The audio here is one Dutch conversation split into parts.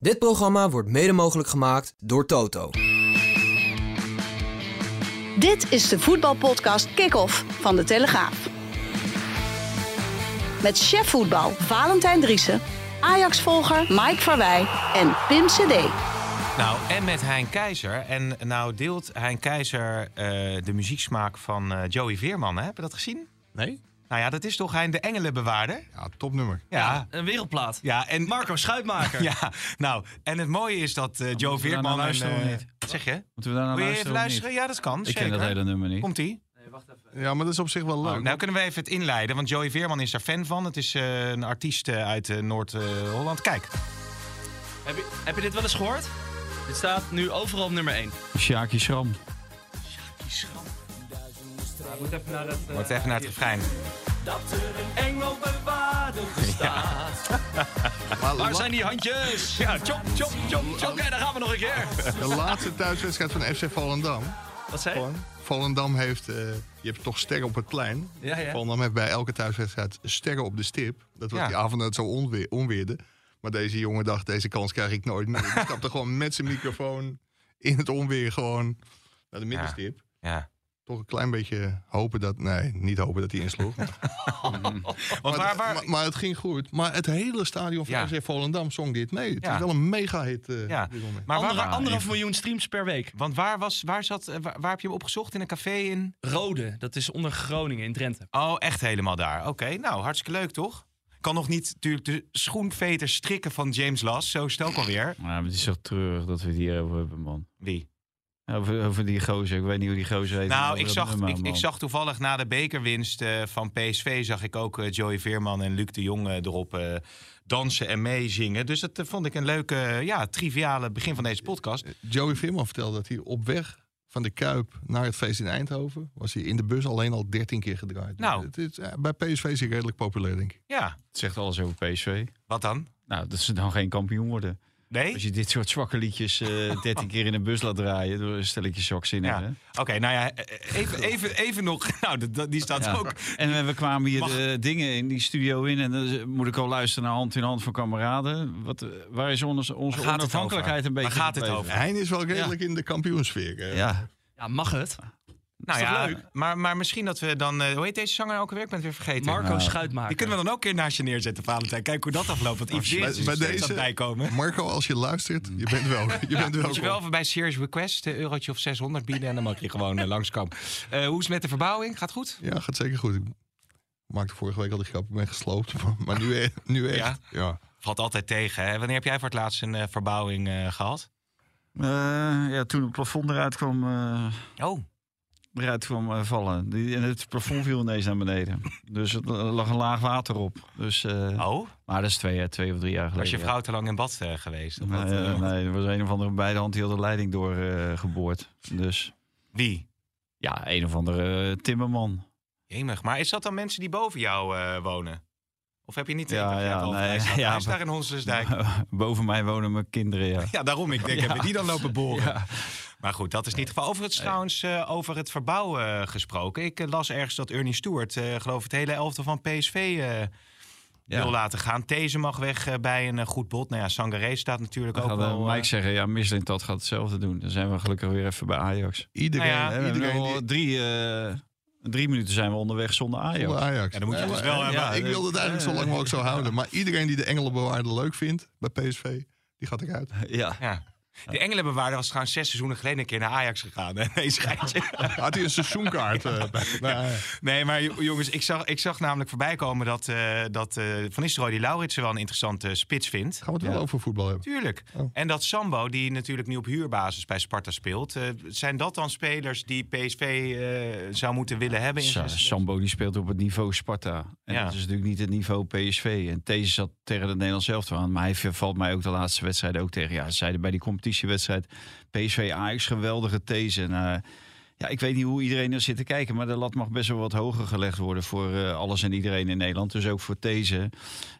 Dit programma wordt mede mogelijk gemaakt door Toto. Dit is de voetbalpodcast Kick-Off van De Telegraaf. Met chef voetbal Valentijn Driessen, Ajax-volger Mike Verwij en Pim CD. Nou, en met Hein Keizer. En nou deelt Hein Keizer eh, de muzieksmaak van eh, Joey Veerman. Hè? Heb je dat gezien? Nee? Nou ja, dat is toch Hein de Engelenbewaarder? Ja, topnummer. Ja. Een wereldplaat. Ja, en, Marco Schuitmaker. ja, nou, en het mooie is dat eh, Joe moeten we daar Veerman... naar luisteren een, of eh, niet? Wat zeg je? Moeten we daar naar Wil je luisteren? even of luisteren? niet? Ja, dat kan. Ik ken dat hele nummer niet. Komt-ie? Ja, maar dat is op zich wel leuk. Oh, nou kunnen we even het inleiden, want Joey Veerman is daar fan van. Het is eh, een artiest eh, uit eh, Noord-Holland. Kijk. Heb je, heb je dit wel eens gehoord? Dit staat nu overal op nummer 1. Sjaakje Schram. Wordt even naar het refrein. Maar la- Waar zijn die handjes? Ja, chop, chop, chop. chop. Oké, daar gaan we nog een keer. de laatste thuiswedstrijd van FC Volendam. Wat zei je? Gewoon, Volendam heeft, eh, je hebt toch sterren op het plein. Ja, ja. Volendam heeft bij elke thuiswedstrijd sterren op de stip. Dat was Ja. die avond dat zo onweer, onweerde. Maar deze jongen dacht, deze kans krijg ik nooit meer. Die stapte gewoon met zijn microfoon in het onweer gewoon naar de middenstip. Ja. Toch een klein beetje hopen dat... Nee, niet hopen dat hij insloeg. maar, Want waar, waar, het- maar, maar het ging goed. Maar het hele stadion van Ja. FC Volendam zong dit mee. Het Ja. is wel een mega hit eh, ja. op dit moment. maar waar, Ander, anderhalf even- miljoen streams per week. Want waar, was, waar, zat, eh, waar, waar heb je hem opgezocht? In een café in... Rode, dat is onder Groningen in Drenthe. Oh, echt helemaal daar. Oké, nou, hartstikke leuk, toch? Kan nog niet natuurlijk de schoenveter strikken van James Las. Zo snel alweer. Ja, maar het is toch treurig dat we het hierover hebben, man. Wie? Over, over die gozer, ik weet niet hoe die gozer heet. maar Nou, over ik dat zag, nummer, ik, ik man. zag toevallig na de bekerwinst eh, van PSV... zag ik ook eh, Joey Veerman en Luc de Jong eh, erop eh, dansen en meezingen. Dus dat eh, vond ik een leuke, eh, ja, triviale begin van deze podcast. Joey Veerman vertelde dat hij op weg van de Kuip naar het feest in Eindhoven... was hij in de bus alleen al 13 keer gedraaid. Nou. Het is, eh, bij PSV is hij redelijk populair, denk ik. Ja, Het zegt alles over PSV. wat dan? Nou, dat ze dan geen kampioen worden. Als Nee? je dit soort zwakke liedjes eh 13 keer in een bus laat draaien, door een stelletje zaks in. Ja. hè? Oké, nou ja, eh, even, even, even nog. Nou, dat- dat- die staat Ja. ook. En we- we kwamen hier Mag- de dingen in die studio in en dan z- moet ik al luisteren naar Hand in Hand van Kameraden. Wat, eh, waar is onze, onze Waar gaat het onafhankelijkheid over? een beetje Waar gaat het gebleven? over? Hij is wel redelijk in de kampioensfeer. eh. Ja, Ja, mag het? Nou Is toch ja, leuk? Maar, maar misschien dat we dan... eh, hoe heet deze zanger ook alweer? Ik ben het weer vergeten. Marco Nou, Schuitmaker. eh, Die kunnen we dan ook een keer naast je neerzetten, Valentijn. Kijk hoe dat afloopt. Want Yves Dirks is bij er steeds deze- aan het bijkomen. Marco, als je luistert, je bent wel. Je bent Moet je wel wel. even bij Serious Request een eurotje of 600 bieden... en dan mag je gewoon eh, langskomen. Eh, hoe is het met de verbouwing? Gaat goed? Ja, gaat zeker goed. Ik maakte vorige week al die grap, ik ben gesloopt. maar- Maar nu, e- nu echt. Ja? Ja? Valt altijd tegen, hè? Wanneer heb jij voor het laatst een eh, verbouwing eh, gehad? Eh, ja, toen het plafond eruit kwam, eh, Oh, eruit kwam eh, vallen. Die, en het plafond viel ineens naar beneden. Dus er lag een laag water op. Dus, eh, oh? Maar dat is twee, jaar- twee of drie jaar geleden. was je ja. vrouw te lang in bad eh, geweest? Of wat? Nee, Eh, eh, nee, er was een of andere bij de hand die had de leiding doorgeboord. dus Wie? ja, een of andere eh, timmerman. Jemig. Maar is dat dan mensen die boven jou eh, wonen? Of heb je niet... Ja, ik dacht, jij ja, hebt al nee, vrij staat. ja, Hij is maar- daar in Honsensdijk. Boven mij wonen mijn kinderen, ja. Ja, daarom. Ik denk, hebben die dan lopen boren? Maar goed, dat is niet het geval. Overigens trouwens, eh, over het verbouwen eh, gesproken. Ik eh, las ergens dat Ernie Stewart, eh, geloof het hele elftal van PSV... eh, Ja. wil laten gaan. Deze mag weg eh, bij een eh, goed bod. Nou ja, Sangaré staat natuurlijk Dan ook gaat wel... eh, eh, Mike zeggen, ja, Mislintat gaat hetzelfde doen. Dan zijn we gelukkig weer even bij Ajax. Iedereen, Nou ja, Hè, we hebben iedereen nog die- drie, eh, drie minuten zijn we onderweg zonder Ajax. Zonder Ajax. Ja, dan moet je dus wel, eh, ja, maar- ik wil het eigenlijk zo lang mogelijk zo houden. Maar iedereen die de Engelenbewaarde leuk vindt bij PSV, die gaat eruit. Ja. eh, ja. De Engelenbewaarder was trouwens zes seizoenen geleden een keer naar Ajax gegaan. Hè? Nee, schijntje. Had hij een seizoenkaart? eh, bij- Nou, ja. Nee, maar jo- jongens, ik zag, ik zag namelijk voorbij komen dat, eh, dat eh, Van Nistelrooy die Lauritsen wel een interessante eh, spits vindt. Gaan we het wel over voetbal hebben? Tuurlijk. Oh. En dat Sambo, die natuurlijk nu op huurbasis bij Sparta speelt. eh, zijn dat dan spelers die PSV eh, zou moeten willen hebben? In Sa- zijn- Sambo die speelt op het niveau Sparta. En Ja. dat is natuurlijk niet het niveau PSV. En deze zat tegen het Nederlands zelf aan. Maar hij valt mij ook de laatste wedstrijden ook tegen. Ja, ze zeiden bij die competitiewedstrijd PSV Ajax geweldige these. En, eh, ja, ik weet niet hoe iedereen er zit te kijken. Maar de lat mag best wel wat hoger gelegd worden voor eh, alles en iedereen in Nederland. Dus ook voor these.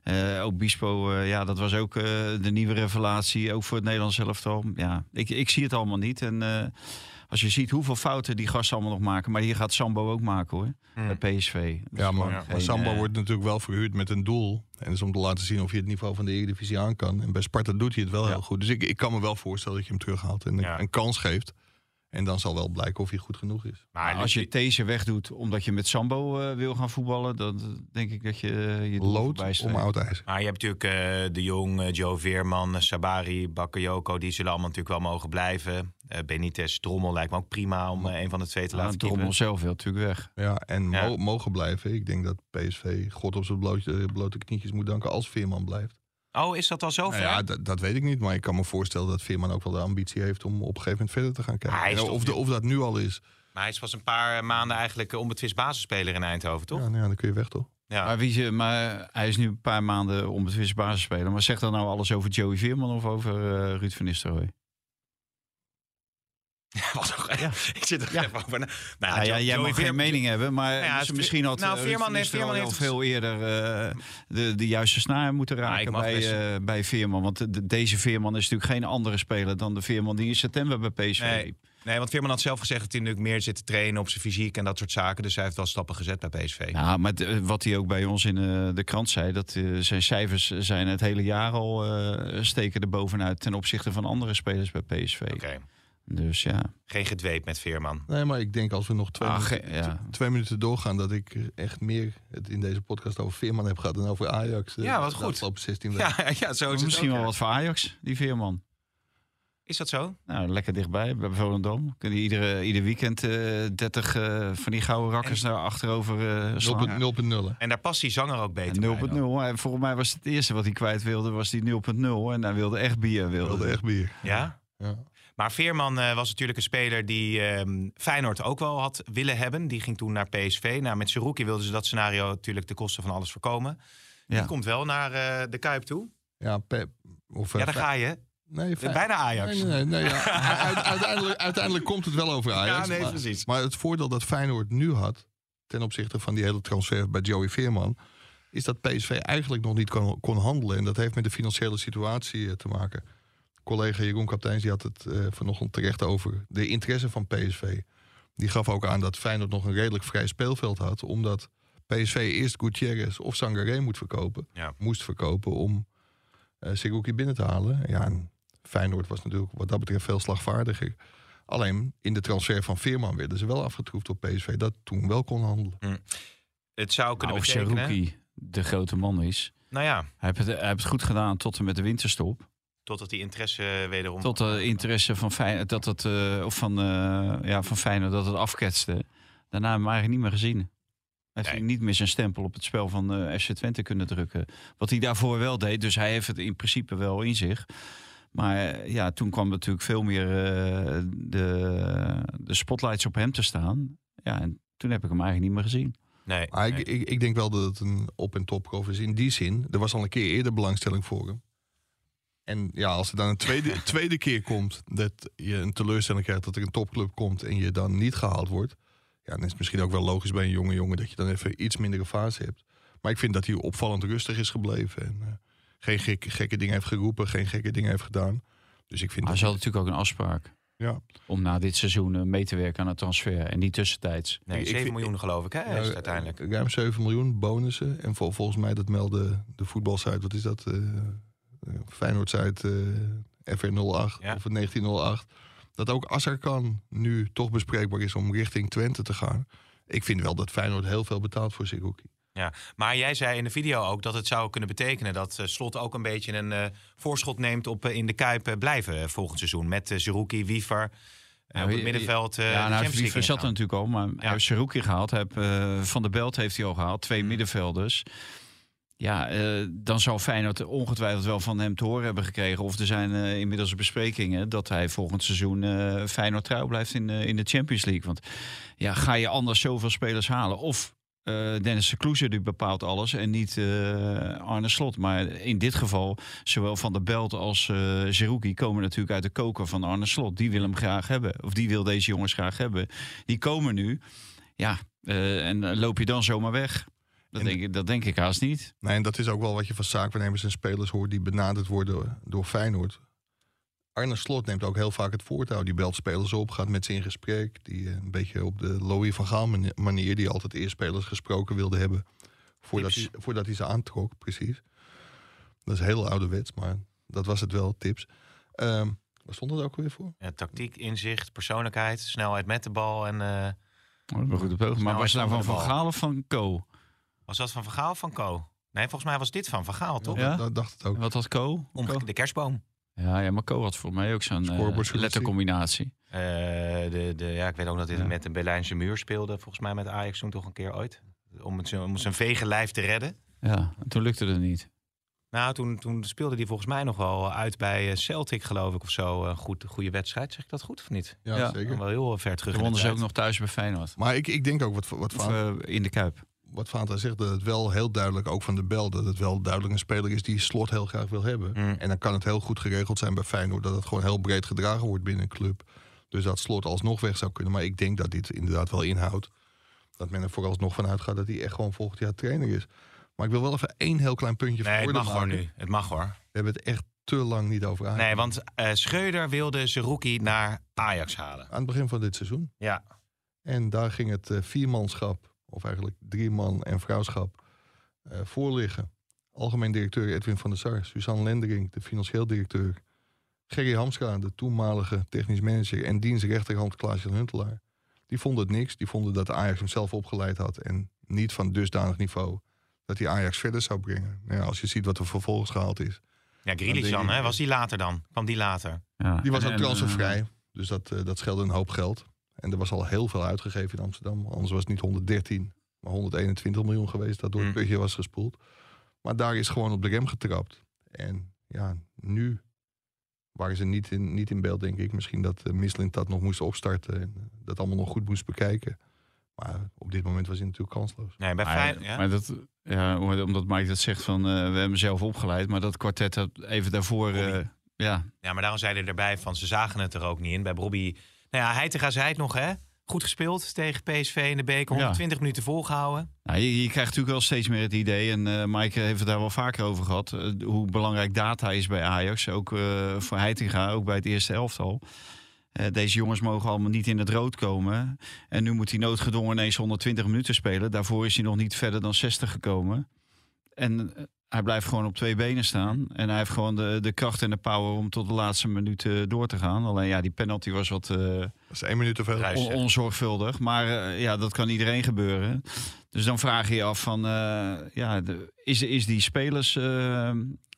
Eh Obispo, eh, ja, dat was ook eh, de nieuwe revelatie. Ook voor het Nederlands elftal. Ja, ik, ik zie het allemaal niet. En eh, als je ziet hoeveel fouten die gasten allemaal nog maken. Maar hier gaat Sambo ook maken hoor. Bij PSV. Dat Ja, is maar, gewoon maar geen, Samba eh, wordt natuurlijk wel verhuurd met een doel. En dat is om te laten zien of je het niveau van de Eredivisie aan kan. En bij Sparta doet hij het wel heel goed. Dus ik, ik kan me wel voorstellen dat je hem terughaalt en Ja. een kans geeft. En dan zal wel blijken of hij goed genoeg is. Maar als je deze wegdoet omdat je met Sambo eh, wil gaan voetballen. Dan eh, denk ik dat je eh, je doel voorbij Lood streeft. om oud ijzer. Maar je hebt natuurlijk eh, De Jong, eh, Joe Veerman, eh, Sabari, Bakayoko. Die zullen allemaal natuurlijk wel mogen blijven. Eh Benitez, Drommel lijkt me ook prima om eh, een van de twee te Ja, laten Drommel kiepen. zelf wil natuurlijk weg. Ja, en Ja. mo- mogen blijven. Ik denk dat PSV God op zijn blootje- eh, blote knietjes moet danken als Veerman blijft. Oh, is dat al zover? Nou ja, dat, dat weet ik niet. Maar ik kan me voorstellen dat Veerman ook wel de ambitie heeft om op een gegeven moment verder te gaan kijken. Hij is En toch of, de- nu- of dat nu al is. Maar hij is pas een paar maanden eigenlijk eh, onbetwist basisspeler in Eindhoven, toch? Ja, nou ja, dan kun je weg toch? Ja. Maar, wie ze, maar hij is nu een paar maanden om het basis spelen. Maar zegt dat nou alles over Joey Veerman of over eh, Ruud van Nistelrooy? Wat nog- Ik zit er Ja. even over na. Nou, Ja, ja, Joey jij mag geen Veerman- mening hebben, maar ja, het- dus misschien had nou, eh, Veerman Ruud van heeft- Veerman Nistelrooy heeft al veel eerder eh, de, de juiste snaar moeten ik raken mag bij, best- eh, bij Veerman. Want de- de- deze Veerman is natuurlijk geen andere speler dan de Veerman die in september bij PSV Nee. Nee, want Veerman had zelf gezegd dat hij natuurlijk meer zit te trainen op zijn fysiek en dat soort zaken. Dus hij heeft wel stappen gezet bij PSV. Ja, maar d- wat hij ook bij ons in eh, de krant zei, dat eh, zijn cijfers zijn het hele jaar al eh, steken er bovenuit ten opzichte van andere spelers bij PSV. Oké. Dus ja. Geen gedweep met Veerman. Nee, maar ik denk als we nog twee, Ah, minuten, ge- ja. t- twee minuten doorgaan... dat ik eh, echt meer het in deze podcast over Veerman heb gehad... dan over Ajax. eh, Ja, wat de goed. afgelopen 16 weken. Ja, ja zo is het Misschien ook, wel ja. wat voor Ajax, die Veerman. Is dat zo? Nou, lekker dichtbij, bij Volendam. Kunnen iedere, ieder weekend eh 30 eh, van die gouden rakkers daar achterover eh Nul punt- slaan. 0.0. hè. En daar past die zanger ook beter bij. dan. 0.0. En volgens mij was het eerste wat hij kwijt wilde, was die 0.0. En hij wilde echt bier. Ik Wilde. wilde echt bier. Ja? Ja. Maar Veerman eh, was natuurlijk een speler die ehm, Feyenoord ook wel had willen hebben. Die ging toen naar PSV. Nou, met Seruki wilden ze dat scenario natuurlijk ten koste van alles voorkomen. Ja. Die komt wel naar eh, de Kuip toe. Ja, Pep. Of, eh, Ja, daar Fey- ga je. Nee, Fey- Bijna Ajax. eh, Nee, nee, nee, ja. U- u- uiteindelijk, uiteindelijk komt het wel over Ajax. Ja, nee, maar, precies. maar het voordeel dat Feyenoord nu had... ten opzichte van die hele transfer bij Joey Veerman... is dat PSV eigenlijk nog niet kon, kon handelen. En dat heeft met de financiële situatie eh, te maken. Collega Jeroen Kapteins die had het eh, vanochtend terecht over... de interesse van PSV. Die gaf ook aan dat Feyenoord nog een redelijk vrij speelveld had... omdat PSV eerst Gutierrez of Sangaré moet verkopen, Ja. moest verkopen... om eh Siruki binnen te halen. Ja, en Feyenoord was natuurlijk wat dat betreft veel slagvaardiger. Alleen in de transfer van Veerman werden ze wel afgetroefd door PSV. Dat toen wel kon handelen. Hm, Het zou kunnen Nou, of betekenen. Saruki de grote man is. Nou ja, Hij heeft, het, hij heeft het goed gedaan tot en met de winterstop. totdat die interesse eh, wederom... Tot de interesse van Feyenoord, dat het, eh, of van, eh, ja, van Feyenoord dat het afketste. Daarna hebben we hem eigenlijk niet meer gezien. Hij heeft Nee. niet meer zijn stempel op het spel van eh, FC Twente kunnen drukken. Wat hij daarvoor wel deed, dus hij heeft het in principe wel in zich. Maar eh, ja, toen kwam natuurlijk veel meer eh, de, de spotlights op hem te staan. Ja, en toen heb ik hem eigenlijk niet meer gezien. Nee. Maar nee. ik, ik, ik denk wel dat het een op- en topkoof is. In die zin, er was al een keer eerder belangstelling voor hem. En ja, als het dan een tweede, tweede keer komt dat je een teleurstelling krijgt... dat er een topclub komt en je dan niet gehaald wordt... ja, dan is het misschien ook wel logisch bij een jonge jongen... dat je dan even iets mindere fase hebt. Maar ik vind dat hij opvallend rustig is gebleven. En, eh, geen gek- gekke dingen heeft geroepen, geen gekke dingen heeft gedaan. Dus ik vind Maar dat... ze hadden natuurlijk ook een afspraak Ja. om na dit seizoen eh, mee te werken aan het transfer. En niet tussentijds. Nee, ik 7 vind- miljoen geloof ik, hè, is het uiteindelijk. Eh, Ruim 7 miljoen bonussen. En vol- volgens mij, dat meldde de voetbalsite, wat is dat? eh eh, Feyenoordsite eh FR08 Ja. of het 1908. Dat ook Azarkan nu toch bespreekbaar is om richting Twente te gaan. Ik vind wel dat Feyenoord heel veel betaalt voor Sikoki. Ja, maar jij zei in de video ook dat het zou kunnen betekenen dat eh, Slot ook een beetje een eh, voorschot neemt op eh, in de Kuip eh, blijven eh, volgend seizoen. Met eh Zerouki, Wiever, eh, op het middenveld. eh, ja, de nou, Champions League Vliever zat er ingaan. natuurlijk al, maar hij heeft Seruki gehaald. Hij heeft, eh, Van der Belt heeft hij al gehaald. Twee Mm. middenvelders. Ja, eh, dan zou Feyenoord ongetwijfeld wel van hem te horen hebben gekregen. Of er zijn eh, inmiddels besprekingen dat hij volgend seizoen eh Feyenoord trouw blijft in, eh, in de Champions League. Want ja, ga je anders zoveel spelers halen? Of eh, Dennis de Kloeze die bepaalt alles en niet eh, Arne Slot. Maar in dit geval, zowel Van der Belt als eh Zerouki komen natuurlijk uit de koker van Arne Slot. Die wil hem graag hebben. Of die wil deze jongens graag hebben. Die komen nu. Ja, eh, en loop je dan zomaar weg? Dat En- denk, ik, dat denk ik haast niet. Nee, en dat is ook wel wat je van zaakwaarnemers en spelers hoort die benaderd worden door Feyenoord. Arne Slot neemt ook heel vaak het voortouw. Die belt spelers op, gaat met ze in gesprek. Die eh, een beetje op de Louis van Gaal mani- manier, die altijd eerst spelers gesproken wilde hebben. Voordat, hij, voordat hij ze aantrok, precies. Dat is heel ouderwets, maar dat was het wel, tips. Ehm waar stond dat ook weer voor? Ja, tactiek, inzicht, persoonlijkheid, snelheid met de bal. En eh, goed op Maar was het nou van Van Gaal of van Co? was dat van Van Gaal of van Co? Nee, volgens mij was dit van Van Gaal, toch? Ja? Dat, dat dacht het ook. Wat had Co? Om de kerstboom. Ja, ja, maar Co had voor mij ook zo'n eh, Scorebordselectie. lettercombinatie. Eh, de, de, ja, ik weet ook dat dit Ja. met de Berlijnse muur speelde. Volgens mij met Ajax toen toch een keer ooit. Om, het, zo- om zijn vege lijf te redden. Ja, en toen lukte het niet. Nou, toen, toen speelde hij volgens mij nog wel uit bij eh, Celtic, geloof ik, of zo. Een goed, goede wedstrijd, zeg ik dat goed of niet? Ja, Ja. zeker. Dan wel heel ver terug. Toen in de wonnen ze tijd. ook nog thuis bij Feyenoord. Maar ik, ik denk ook wat, wat Of Van eh, in de Kuip. wat Fanta zegt, dat het wel heel duidelijk, ook van de Bel, dat het wel duidelijk een speler is die slot heel graag wil hebben. Mm. En dan kan het heel goed geregeld zijn bij Feyenoord, dat het gewoon heel breed gedragen wordt binnen een club. Dus dat slot alsnog weg zou kunnen. Maar ik denk dat dit inderdaad wel inhoudt. Dat men er vooralsnog van uitgaat dat hij echt gewoon volgend jaar trainer is. Maar ik wil wel even één heel klein puntje Nee, het voor mag hoor nu. Het mag hoor. We hebben het echt te lang niet over Ajax. Nee, want eh Schreuder wilde Zerouki naar Ajax halen. Aan het begin van dit seizoen. Ja. En daar ging het eh, viermanschap, of eigenlijk drie man en vrouwschap, eh voor liggen. Algemeen directeur Edwin van der Sar, Suzanne Lendering, de financieel directeur. Gerry Hamska, de toenmalige technisch manager en diens rechterhand Klaas-Jan Huntelaar. Die vonden het niks. Die vonden dat Ajax hem zelf opgeleid had en niet van dusdanig niveau dat hij Ajax verder zou brengen. Nou Ja, als je ziet wat er vervolgens gehaald is. Ja, Grealish Dan denk dan, ik- hè? Was die later dan? Kwam die later? Ja. Die was En- ook en, transfervrij, dus dat, eh, dat scheelde een hoop geld. En er was al heel veel uitgegeven in Amsterdam. Anders was het niet 113, maar 121 miljoen geweest dat door het Mm. putje was gespoeld. Maar daar is gewoon op de rem getrapt. En ja, nu waren ze niet in, niet in beeld, denk ik. Misschien dat uh, dat nog moest opstarten en eh, dat allemaal nog goed moest bekijken. Maar op dit moment was hij natuurlijk kansloos. Nee, bij eh, Feyenoord. maar, Ja? maar dat, ja, omdat Mike dat zegt van eh, we hebben hem zelf opgeleid. Maar dat kwartet had even daarvoor. eh, Robbie. ja, ja, maar daarom zeiden erbij van ze zagen het er ook niet in. Bij Bobby. Nou ja, Heitinga zei het nog, hè? Goed gespeeld tegen PSV in de beker. Ja. 120 minuten volgehouden. Nou, je, je krijgt natuurlijk wel steeds meer het idee, en eh Mike heeft het daar wel vaker over gehad, eh, hoe belangrijk data is bij Ajax. Ook eh, voor Heitinga, ook bij het eerste elftal. Eh, deze jongens mogen allemaal niet in het rood komen. En nu moet hij noodgedwongen ineens 120 minuten spelen. Daarvoor is hij nog niet verder dan 60 gekomen. En eh, hij blijft gewoon op twee benen staan. En hij heeft gewoon de, de kracht en de power om tot de laatste minuut eh, door te gaan. Alleen ja, die penalty was wat... eh, Dat is één minuut te veel. Ruis. on- onzorgvuldig. Maar eh, ja, dat kan iedereen gebeuren. Dus dan vraag je je af van, eh, ja, de- is, is die spelers, eh,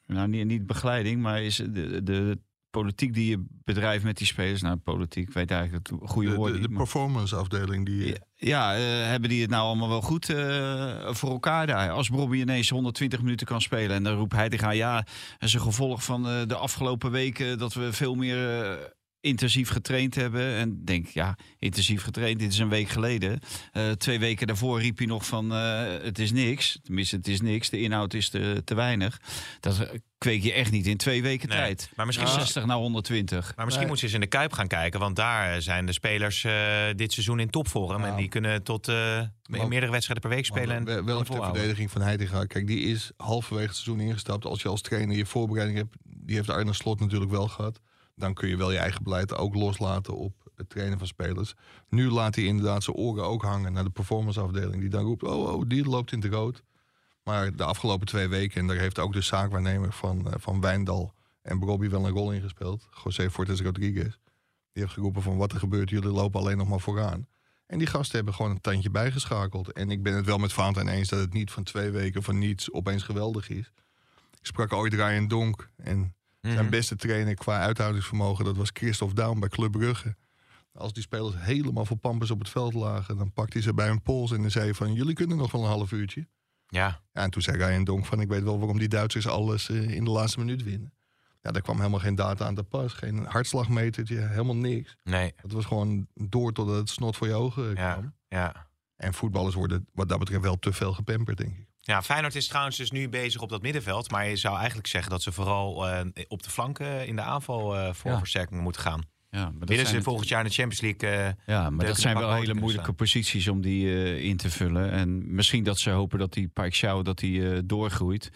nou niet, niet begeleiding, maar is de, de politiek die je bedrijft met die spelers, nou politiek, ik weet eigenlijk het goede De, woord de, niet, de maar- performance afdeling die... ja, ja, eh, hebben die het nou allemaal wel goed eh, voor elkaar daar? Als Bobby ineens 120 minuten kan spelen en dan roept hij tegen haar... ja, dat is een gevolg van eh, de afgelopen weken dat we veel meer eh, intensief getraind hebben. En denk, ja, intensief getraind, dit is een week geleden. Eh, twee weken daarvoor riep hij nog van eh, het is niks. Tenminste, het is niks, de inhoud is te, te weinig. Dat eh, kweek je echt niet in twee weken Nee, Nou. tijd. maar misschien- Van 60 naar 120. Maar misschien moeten ze eens in de Kuip gaan kijken. Want daar eh, zijn de spelers eh, dit seizoen in topvorm. Nou. En die kunnen tot eh, me- Maar- meerdere wedstrijden per week spelen. En Maar eh, wel- wel even ter volhouden. verdediging van Heitinga. Kijk, die is halverwege het seizoen ingestapt. Als je als trainer je voorbereiding hebt, die heeft Arne Slot natuurlijk wel gehad. Dan kun je wel je eigen beleid ook loslaten op het trainen van spelers. Nu laat hij inderdaad zijn oren ook hangen naar de performanceafdeling. Die dan roept, oh, oh, die loopt in het rood. Maar de afgelopen twee weken, en daar heeft ook de zaakwaarnemer van, eh, van Wijndal en Bobby wel een rol in gespeeld. José Fortes Rodriguez. Die heeft geroepen van wat er gebeurt, jullie lopen alleen nog maar vooraan. En die gasten hebben gewoon een tandje bijgeschakeld. En ik ben het wel met Valentijn eens dat het niet van twee weken van niets opeens geweldig is. Ik sprak ooit Ryan Donk en zijn beste trainer qua uithoudingsvermogen, dat was Christophe Daum bij Club Brugge. Als die spelers helemaal voor pampers op het veld lagen, dan pakte hij ze bij hun pols en dan zei hij van, jullie kunnen nog wel een half uurtje. Ja. Ja, en toen zei Ryan Donk van, ik weet wel waarom die Duitsers alles eh, in de laatste minuut winnen. Ja, daar kwam helemaal geen data aan te pas. Geen hartslagmetertje, helemaal niks. Nee. Het was gewoon door totdat het snot voor je ogen eh, kwam. Ja. Ja. En voetballers worden wat dat betreft wel te veel gepamperd, denk ik. Ja, Feyenoord is trouwens dus nu bezig op dat middenveld. Maar je zou eigenlijk zeggen dat ze vooral eh, op de flanken in de aanval eh, voor Ja. versterkingen moeten gaan. Ja, maar dat Willen zijn ze het- volgend jaar in de Champions League... eh, Ja, maar Leuke dat zijn pak wel ook hele kunnen moeilijke posities om die eh, in te vullen. En misschien dat ze hopen dat die Pike Shaw dat die, eh, doorgroeit.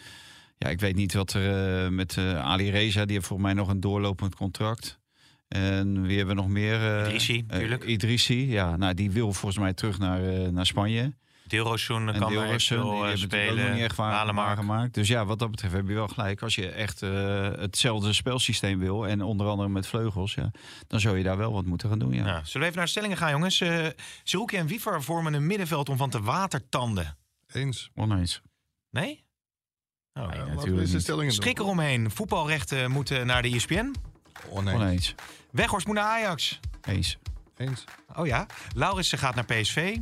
Ja, ik weet niet wat er eh, met eh, Ali Reza, die heeft volgens mij nog een doorlopend contract. En wie hebben we nog meer? eh, Idrissi, eh, natuurlijk. Idrissi, ja. Nou, die wil volgens mij terug naar, eh, naar Spanje. Dilrosun En kan Dilrosun, maar eventueel, die eh, hebben natuurlijk ook spelen. nog niet echt waar Walemark. gemaakt. Dus ja, wat dat betreft heb je wel gelijk. Als je echt eh, hetzelfde spelsysteem wil, en onder andere met vleugels, ja, dan zou je daar wel wat moeten gaan doen, ja. Ja. Zullen we even naar de stellingen gaan, jongens? Eh Zerouki en Wiever vormen een middenveld om van te watertanden. Eens. Oneens. Nee? Oh, ja. Nee, Laten we natuurlijk eens de niet. stellingen doen. Strik eromheen. Voetbalrechten moeten naar de E ESPN. Oneens. Oneens. Weghorst moet naar Ajax. Eens. Eens. Oh ja. Laurissen gaat naar PSV.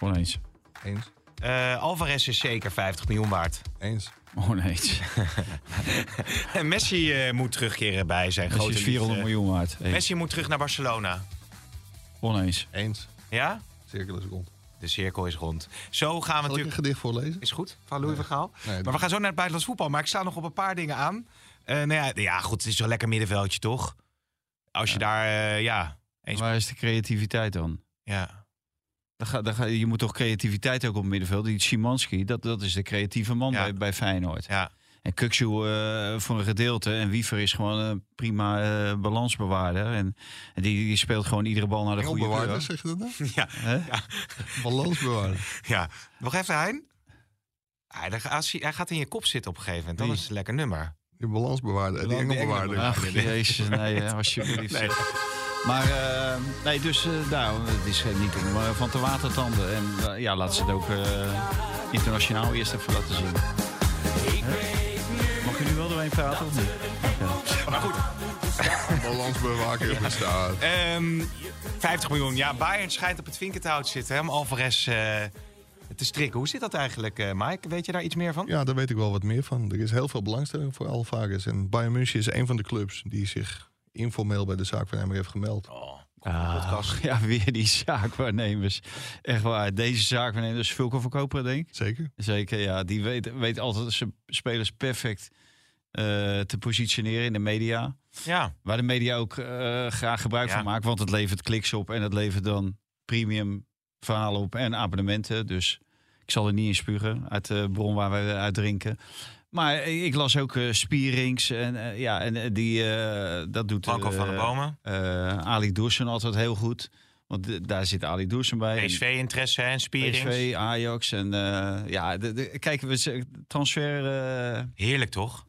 Oneens. Eens. Eh, Alvarez is zeker 50 miljoen waard. Eens. Oneens. En Messi eh, moet terugkeren bij zijn Dat grote is liefde. 400 miljoen waard. Eens. Messi moet terug naar Barcelona. Oneens. Eens. Ja? Cirkel is rond. De cirkel is rond. Zo gaan we Zal ik een natuurlijk... gedicht voorlezen? Is goed, van Louis van Gaal. Nee, maar dat- we gaan zo naar het buitenlands voetbal. Maar ik sta nog op een paar dingen aan. Eh, nou ja, ja, goed, het is een lekker middenveldje, toch? Als je daar... eh, ja, eens... Waar is de creativiteit dan? Ja. Dan ga, dan ga, je moet toch creativiteit ook op het middenveld. Die Szymanski, dat, dat is de creatieve man Ja. bij, bij Feyenoord. ja. En Kukzu eh, voor een gedeelte. En Wiever is gewoon een prima eh, balansbewaarder. En, en die, die speelt gewoon iedere bal naar de goede Engelbewaarder, kleur. zeg je dat Hè? nou? Balansbewaarder. ja. Nog even, Hein. Hij, dan ga- als hij, hij gaat in je kop zitten op een gegeven moment. Dan Wie? is het een lekker nummer. Die balansbewaarder. Die engelbewaarder. Ach, jezus, nee, hè, alsjeblieft. Maar eh, nee, dus eh, nou, het is eh, niet om eh, van te watertanden. En eh, ja, laat ze het ook eh, internationaal eerst even laten zien. Hè? Mag je nu wel doorheen praten of niet? Balansbewaker bestaat. Ehm 50 miljoen. Ja, Bayern schijnt op het vinkerthout te zitten. hè, Om Alvarez eh, te strikken. Hoe zit dat eigenlijk, eh, Mike? Weet je daar iets meer van? Ja, daar weet ik wel wat meer van. Er is heel veel belangstelling voor Alvarez. En Bayern München is een van de clubs die zich informeel bij de zaak van hem heeft gemeld. Oh, podcast. Ach, ja, weer die zaakwaarnemers. Echt waar, deze zaakwaarnemers. Vulko Verkoper, denk ik. Zeker? Zeker, ja. Die weet, weet altijd zijn spelers perfect eh, te positioneren in de media. Ja, Waar de media ook eh, graag gebruik Ja. van maakt. Want het levert kliks op en het levert dan premium verhalen op en abonnementen. Dus ik zal er niet in spugen uit de bron waar wij uit drinken. Maar ik las ook eh, Spierings en eh, ja, en eh, die, eh, dat doet Franco van eh, der Bomen. eh, Ali Doersen altijd heel goed. Want d- daar zit Ali Doersen bij. PSV-interesse en Spierings. PSV, Ajax en eh, ja, de, de- kijk, we z- transfer eh, Heerlijk, toch?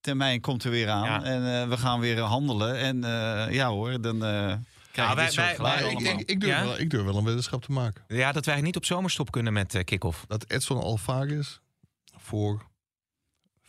termijn komt er weer aan Ja. en eh, we gaan weer handelen en eh, ja hoor, dan eh krijg je Nou, wij- dit soort wij- geluiden wij- ik, allemaal. ik, ik durf Ja? wel, ik durf wel een weddenschap te maken. Ja, dat wij niet op zomerstop kunnen met eh, kick-off. Dat Edson Alvarez voor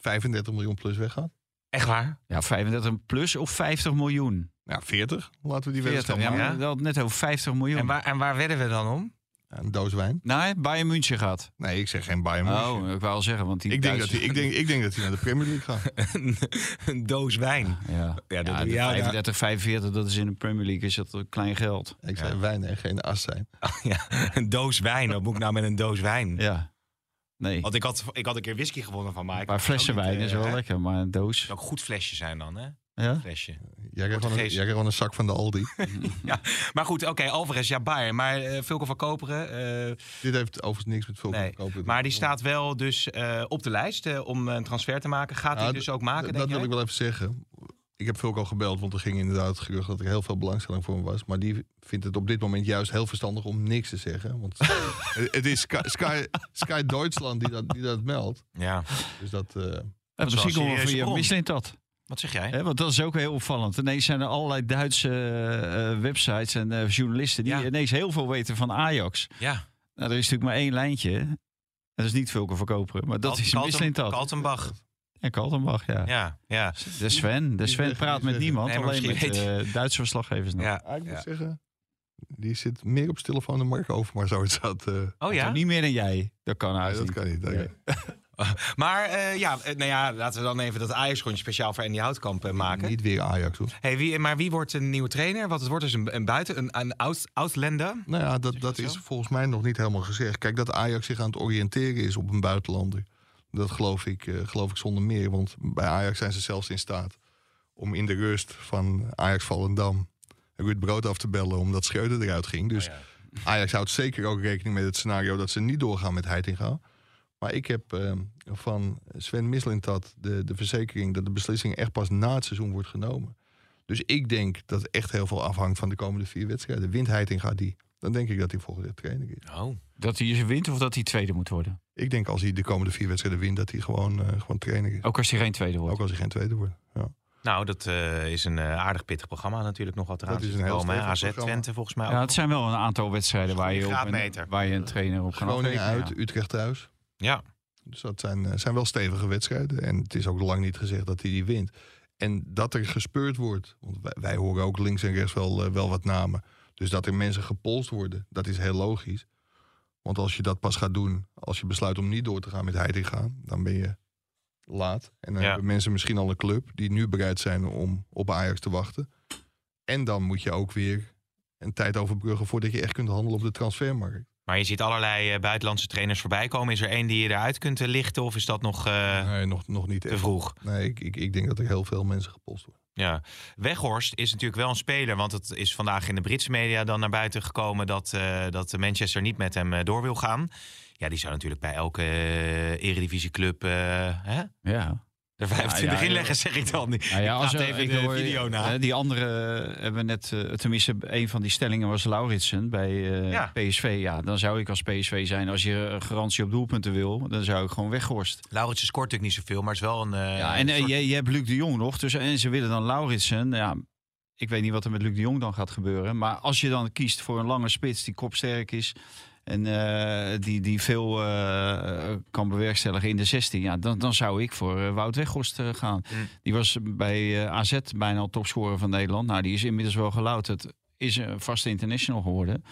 35 miljoen plus weggaat. Echt waar? ja, 35 plus of 50 miljoen. Nou, 40. Laten we die 40, weddenschap ja, maken. maar ja. dat net over 50 miljoen. En waar, en waar wedden we dan om? Een doos wijn. Nee, Bayern München gaat. Nee, ik zeg geen Bayern München. Oh, ik wou al zeggen, want die ik, denk dat hij, Duitsers- ik, denk, ik denk dat hij naar de Premier League gaat. Een doos wijn. Ja, ja, Ja, dat- de ja, ja. 35, 45, dat is in de Premier League, is dat klein geld. Ik zei wijn en geen as zijn. Ja, een doos wijn. Wat moet ik nou met een doos wijn? Ja, nee. Want ik had, ik had een keer whisky gewonnen van Mike. Een paar flessen Ook niet, wijn is eh, wel hè? lekker, maar een doos. Het kan ook goed flesje zijn dan, hè? Ja? Flesje. Jij krijgt gewoon een, Portugees. jij krijgt gewoon een zak van de Aldi. Ja, maar goed, oké, Alvarez, ja, Bayern. Maar eh Vulko van Koperen, eh, Dit heeft overigens niks met veel nee. Maar die staat wel dus eh, op de lijst eh, om een transfer te maken. Gaat hij Ja, dus ook maken, Nou, denk Dat, wil jij? ik wel even zeggen. Ik heb Vulko gebeld, want er ging inderdaad het gerucht dat er heel veel belangstelling voor hem was. Maar die vindt het op dit moment juist heel verstandig om niks te zeggen. Want het het is Sky, Sky, Sky Duitsland die dat, die dat meldt. Ja. Dus dat... eh, En is wel misschien een komen we serieuze via bron. Michelin dat. Wat zeg Eh, jij? Hè, want dat is ook heel opvallend. Ineens zijn er allerlei Duitse eh, eh, websites en eh, journalisten die Ja. ineens heel veel weten van Ajax. Ja, Nou, er is natuurlijk maar één lijntje. Dat is niet Vulke Verkoperen, maar dat Kal- is Mislint dat. Kaltenbach. en Kaltenbach, ja. Ja, ja. De Sven, de Sven praat met niemand, Nee, maar alleen met misschien eh, Duitse verslaggevers. nog. ja. Ah, ik moet ja. zeggen, die zit meer op stille van de Mark Overmars zou het zat. eh. Oh ja? Nou, Niet meer dan jij. Dat kan nee, haast dat niet. kan niet. dat Nee. kan Maar eh, ja, eh, nou ja, laten we dan even dat Ajax-rondje speciaal voor Andy Houtkamp eh, niet. maken. Niet weer Ajax hoor. Hey, wie, maar wie wordt een nieuwe trainer? Want het wordt dus een, een buiten, een, een out, outlander. Nou ja, dat, dat is volgens mij nog niet helemaal gezegd. Kijk, dat Ajax zich aan het oriënteren is op een buitenlander. Dat geloof ik, eh, geloof ik zonder meer. Want bij Ajax zijn ze zelfs in staat om in de rust van Ajax Vallendam Ruud Brood af te bellen omdat Schreuder eruit ging. Dus Ajax houdt zeker ook rekening met het scenario dat ze niet doorgaan met Heitinga. Maar ik heb eh, van Sven Mislintat de, de verzekering dat de beslissing echt pas na het seizoen wordt genomen. Dus ik denk dat echt heel veel afhangt van de komende vier wedstrijden. Wint Heitinga die, dan denk ik dat hij volgende jaar trainer is. Oh. Dat hij eens wint of dat hij tweede moet worden? Ik denk als hij de komende vier wedstrijden wint, dat hij gewoon, eh, gewoon trainer is. Ook als hij geen tweede wordt. Ook als hij geen tweede wordt. Ja. Nou, dat eh, is een eh, aardig pittig programma natuurlijk nog wat eraan Dat is zit een te heel komen, hè. stevig AZ programma. Twente volgens mij ook. Ja, het zijn wel een aantal wedstrijden waar je, op Graadmeter. een, waar je een trainer op kan Groningen afrekenen, ja. uit, Utrecht thuis. Ja. Dus dat zijn, eh, zijn wel stevige wedstrijden. En het is ook lang niet gezegd dat hij die wint. En dat er gespeurd wordt. Want wij, wij horen ook links en rechts wel, eh, wel wat namen. Dus dat er mensen gepolst worden, dat is heel logisch. Want als je dat pas gaat doen, als je besluit om niet door te gaan met Heitinga, dan ben je laat. En dan Ja. hebben mensen misschien al een club die nu bereid zijn om op Ajax te wachten. En dan moet je ook weer een tijd overbruggen voordat je echt kunt handelen op de transfermarkt. Maar je ziet allerlei eh, buitenlandse trainers voorbij komen. Is er één die je eruit kunt eh, lichten of is dat nog eh, nee, nog, nog niet te echt. vroeg? Nee, ik, ik, ik denk dat er heel veel mensen gepolst worden. Ja. Weghorst is natuurlijk wel een speler, want het is vandaag in de Britse media dan naar buiten gekomen dat, eh, dat Manchester niet met hem eh, door wil gaan. Ja, die zou natuurlijk bij elke eh, eredivisieclub eh, hè, Ja. er 25 ja, in leggen, ja. zeg ik dan. niet. Nou ja, als als er- even ik de hoor- video na. hè, Die andere eh, hebben we net, eh, tenminste, een van die stellingen was Lauritsen bij eh, Ja. PSV. Ja, dan zou ik als PSV zijn, als je eh, garantie op doelpunten wil, dan zou ik gewoon weghorst. Lauritsen scoort natuurlijk niet zoveel, maar is wel een... eh, Ja, en eh, soort- je, je hebt Luc de Jong nog. Dus, en ze willen dan Lauritsen. Ja, ik weet niet wat er met Luc de Jong dan gaat gebeuren. Maar als je dan kiest voor een lange spits die kopsterk is... en eh, die, die veel eh, kan bewerkstelligen in de 16... Ja, dan, dan zou ik voor eh, Wout Weghorst eh, gaan. Mm. Die was bij eh, AZ bijna al topscorer van Nederland. Nou, die is inmiddels wel gelouterd. Is een vaste international geworden.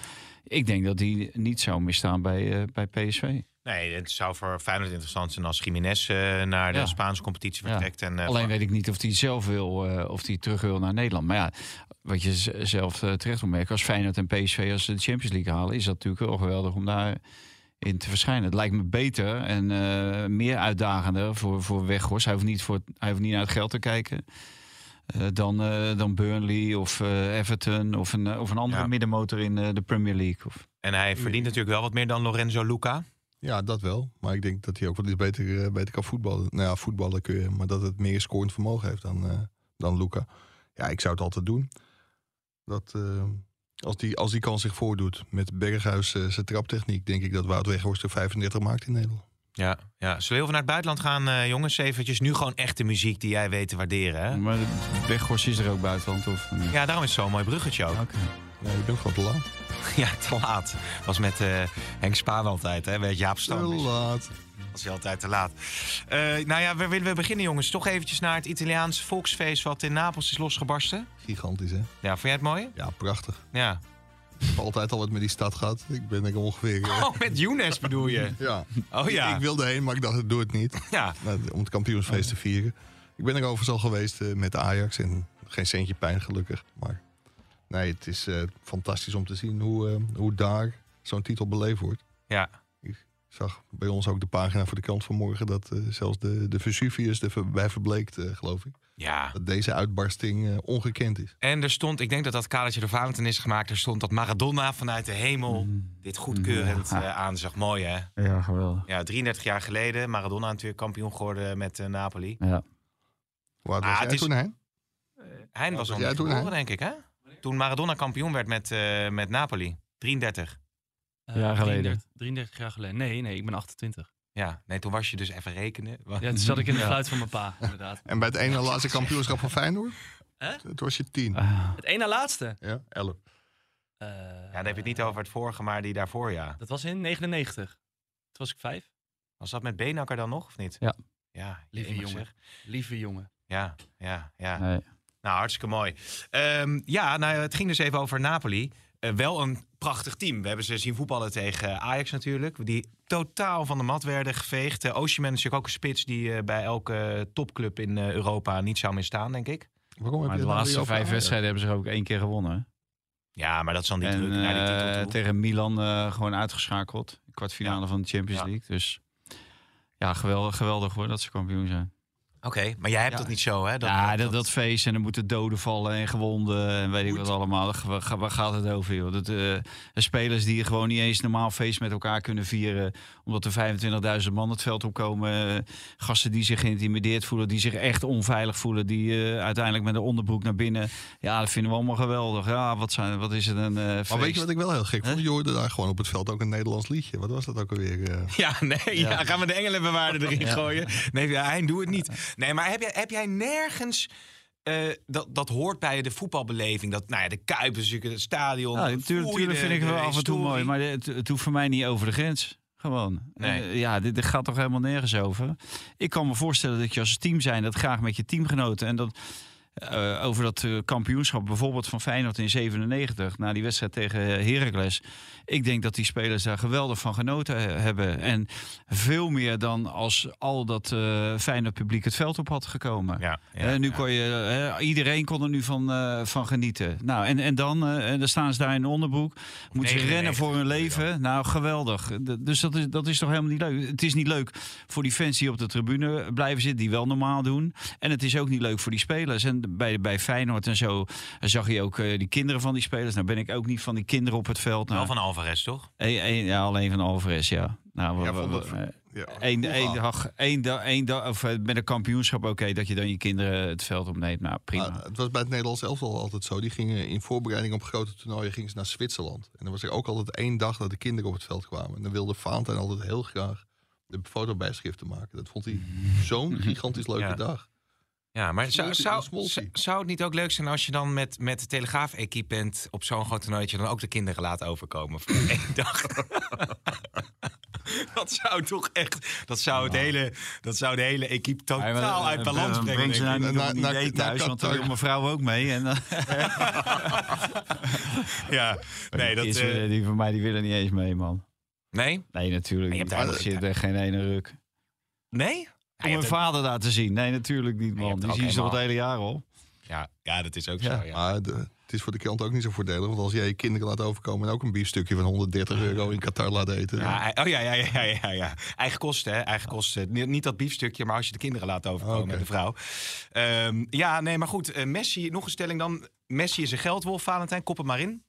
Ik denk dat die niet zou misstaan bij, eh, bij PSV. Nee, het zou voor Feyenoord interessant zijn als Jiménez eh, naar de Ja. Spaanse competitie Ja. vertrekt. En, eh, Alleen weet ik niet of hij zelf wil, eh, of hij terug wil naar Nederland. Maar ja, wat je z- zelf eh, terecht moet merken, als Feyenoord en PSV als ze de Champions League halen, is dat natuurlijk wel geweldig om daarin te verschijnen. Het lijkt me beter en eh, meer uitdagender voor, voor Weghorst. Hij hoeft, niet voor, hij hoeft niet naar het geld te kijken. eh, dan, eh, dan Burnley of eh, Everton of een, eh, of een andere Ja. middenmotor in eh, de Premier League. Of, en hij verdient natuurlijk wel wat meer dan Lorenzo Luca. Ja, dat wel. Maar ik denk dat hij ook wel iets beter, eh, beter kan voetballen. Nou ja, voetballen kun je, maar dat het meer scorend vermogen heeft dan, eh, dan Luca. Ja, ik zou het altijd doen. Dat, eh, als, die, als die kans zich voordoet met Berghuis eh, zijn traptechniek, denk ik dat Wout Weghorst er 35 maakt in Nederland. Ja, ja. Zullen we heel veel naar het buitenland gaan, eh, jongens? Eventjes nu gewoon echte muziek die jij weet te waarderen, hè? Maar Weghorst is er ook buitenland. Of, Ja, daarom is het zo'n mooi bruggetje ook. Oké. Nee, ik ben gewoon te laat. Ja, te laat. Was met eh, Henk Spaan altijd, hè? Met Jaap Te Stam. laat. Was hij altijd te laat. Eh, nou ja, waar willen we beginnen, jongens? Toch eventjes naar het Italiaanse volksfeest wat in Napels is losgebarsten. Gigantisch, hè? Ja, vond jij het mooi? Ja, prachtig. Ja. Ik heb altijd al wat met die stad gehad. Ik ben er ongeveer... eh, Oh, met Younes bedoel je? Ja. Oh ja. Ik wilde heen, maar ik dacht, ik doe het niet. Ja. Nou, om het kampioensfeest te Oh. vieren. Ik ben er overigens al geweest eh, met Ajax en geen centje pijn gelukkig. Maar nee, het is eh, fantastisch om te zien hoe, eh, hoe daar zo'n titel beleefd wordt. Ja. Ik zag bij ons ook de pagina voor de kant van morgen dat eh, zelfs de, de Vesuvius erbij verbleekt, eh, geloof ik. Ja. Dat deze uitbarsting eh, ongekend is. En er stond, ik denk dat dat kadertje door Valentin is gemaakt, er stond dat Maradona vanuit de hemel dit goedkeurend eh, aanzag. Mooi, hè? Ja, geweldig. Ja, 33 jaar geleden. Maradona natuurlijk kampioen geworden met eh, Napoli. Ja. Waar was Ah, jij het is- toen heen? Hein was was nog jij niet toen, geboren, hè? denk ik, hè? Toen Maradona kampioen werd met, eh, met Napoli. 33. Jaar geleden. Eh, 33, 33 jaar geleden. Nee, nee, ik ben 28. Ja, nee, toen was je dus even rekenen. Want- Ja, toen zat ik in de fluit van mijn pa, inderdaad. En bij het ene laatste kampioenschap van Feyenoord? Hè? Het was je tien. Het één na laatste. Ja, elf. Eh, Ja, dan heb je het niet over het vorige, maar die daarvoor, ja. Dat was in 99. Toen was ik vijf. Was dat met Benakker dan nog, of niet? Ja. Ja, Lieve jemig jongen. zeg. Lieve jongen. Ja, ja, ja. Ah, Nee. Nou, hartstikke mooi. Ehm, ja, nou, het ging dus even over Napoli. Eh, wel een prachtig team. We hebben ze zien voetballen tegen Ajax natuurlijk. Die totaal van de mat werden geveegd. Uh, Osimhen is natuurlijk ook een spits die eh, bij elke topclub in eh, Europa niet zou misstaan, denk ik. Waarom Maar de heb je het nou weer laatste over vijf Ajax? wedstrijden hebben ze ook één keer gewonnen. hè? Ja, maar dat is dan die En druk naar die titel eh, toe. tegen Milan eh, gewoon uitgeschakeld. Kwartfinale van de Champions Ja. League. Dus ja, geweldig, geweldig hoor dat ze kampioen zijn. Oké, maar jij hebt Ja. dat niet zo, hè? Dat, ja, dat, dat- dat, feest en dan moeten doden vallen en gewonden en weet ik wat allemaal. Waar, waar- waar gaat het over joh? Dat, eh, spelers die gewoon niet eens normaal feest met elkaar kunnen vieren. Omdat er 25.000 man het veld opkomen. eh, gasten die zich geïntimideerd voelen, die zich echt onveilig voelen. Die eh, uiteindelijk met een onderbroek naar binnen. Ja, dat vinden we allemaal geweldig. Ja, wat, zijn, wat is het een eh, feest. Maar weet je wat ik wel heel gek vond? Hè? Je hoorde daar gewoon op het veld ook een Nederlands liedje. Wat was dat ook alweer? eh? Ja, nee, ja. gaan we de engelenbewaarder erin gooien? Nee, ja, hij doet het niet. Nee, maar heb jij, heb jij nergens... eh, dat, dat hoort bij de voetbalbeleving. Dat, nou ja, de Kuip is natuurlijk het stadion. Dan Ja, voel natuurlijk, je natuurlijk de- de Nou, vind ik het wel af en toe mooi, historie. maar het, het hoeft voor mij niet over de grens. Gewoon. Nee. Eh, ja, dit, dit gaat toch helemaal nergens over. Ik kan me voorstellen dat je als team zijn dat graag met je teamgenoten en dat eh, over dat eh, kampioenschap bijvoorbeeld van Feyenoord in 97 na die wedstrijd tegen eh, Heracles. Ik denk dat die spelers daar geweldig van genoten eh, hebben en veel meer dan als al dat eh Feyenoord publiek het veld op had gekomen. Ja, ja, Hè, Eh, nu ja. kon je, hè, iedereen kon er nu van, eh, van genieten. Nou, en, en dan, eh, en dan staan ze daar in de onderbroek. Moeten ze 99 rennen voor hun bedoel je leven. Nou, geweldig. D- dus dat is, dat is toch helemaal niet leuk. Het is niet leuk voor die fans die op de tribune blijven zitten, die wel normaal doen. En het is ook niet leuk voor die spelers. En bij, bij Feyenoord en zo zag je ook eh, die kinderen van die spelers. Nou ben ik ook niet van die kinderen op het veld. Nou, Wel van Alvarez, toch? één- één- ja, alleen van Alvarez, ja. Nou, we- Ja, we- vond dat- we- eh, Ja. ah. Eén Vroeger. één dag, één dag, één dag, of eh, met een kampioenschap, oké, dat je dan je kinderen het veld opneemt. Nou, prima. Maar het was bij het Nederlands elftal altijd zo. Die gingen in voorbereiding op grote toernooien gingen ze naar Zwitserland. En dan was er ook altijd één dag dat de kinderen op het veld kwamen. En dan wilde Faantijn altijd heel graag de fotobijschriften maken. Dat vond hij zo'n gigantisch leuke Ja. dag. Ja, maar zou, Smolty, zou, Smolty. z- zou het niet ook leuk zijn als je dan met, met de Telegraaf-equipe bent... op zo'n groot toernooitje dan ook de kinderen laat overkomen voor één dag? dat zou toch echt... Dat zou, het hele, dat zou de hele equipe Ja, totaal maar, eh, uit balans eh, brengen. Breng ze denk ik. nou niet Na- op een na- idee na- thuis, na- want dan wil na- mijn vrouw ook mee. En dan, Ja, nee, dat... is, eh, die van mij die willen niet eens mee, man. nee? Nee, natuurlijk. Maar je hebt niet. Er eigenlijk- zit echt geen ene ruk. Nee? Om mijn vader daar te zien. Nee, natuurlijk niet, je man. hebt Die er ook zien ze toch het helemaal- hele jaar al. Ja, ja, dat is ook Ja. zo. Ja. Maar de- het is voor de krant ook niet zo voordelig. Want als jij je kinderen laat overkomen en ook een biefstukje van 130 euro in Qatar laat eten. Ja, hij- oh ja, ja, ja, ja, ja, ja. Eigen kosten, hè? Eigen kosten. Niet, niet dat biefstukje, maar als je de kinderen laat overkomen Oké. en de vrouw. Ehm, ja, nee, maar goed. eh, Messi, nog een stelling dan. Messi is een geldwolf, Valentijn. Kop het maar in.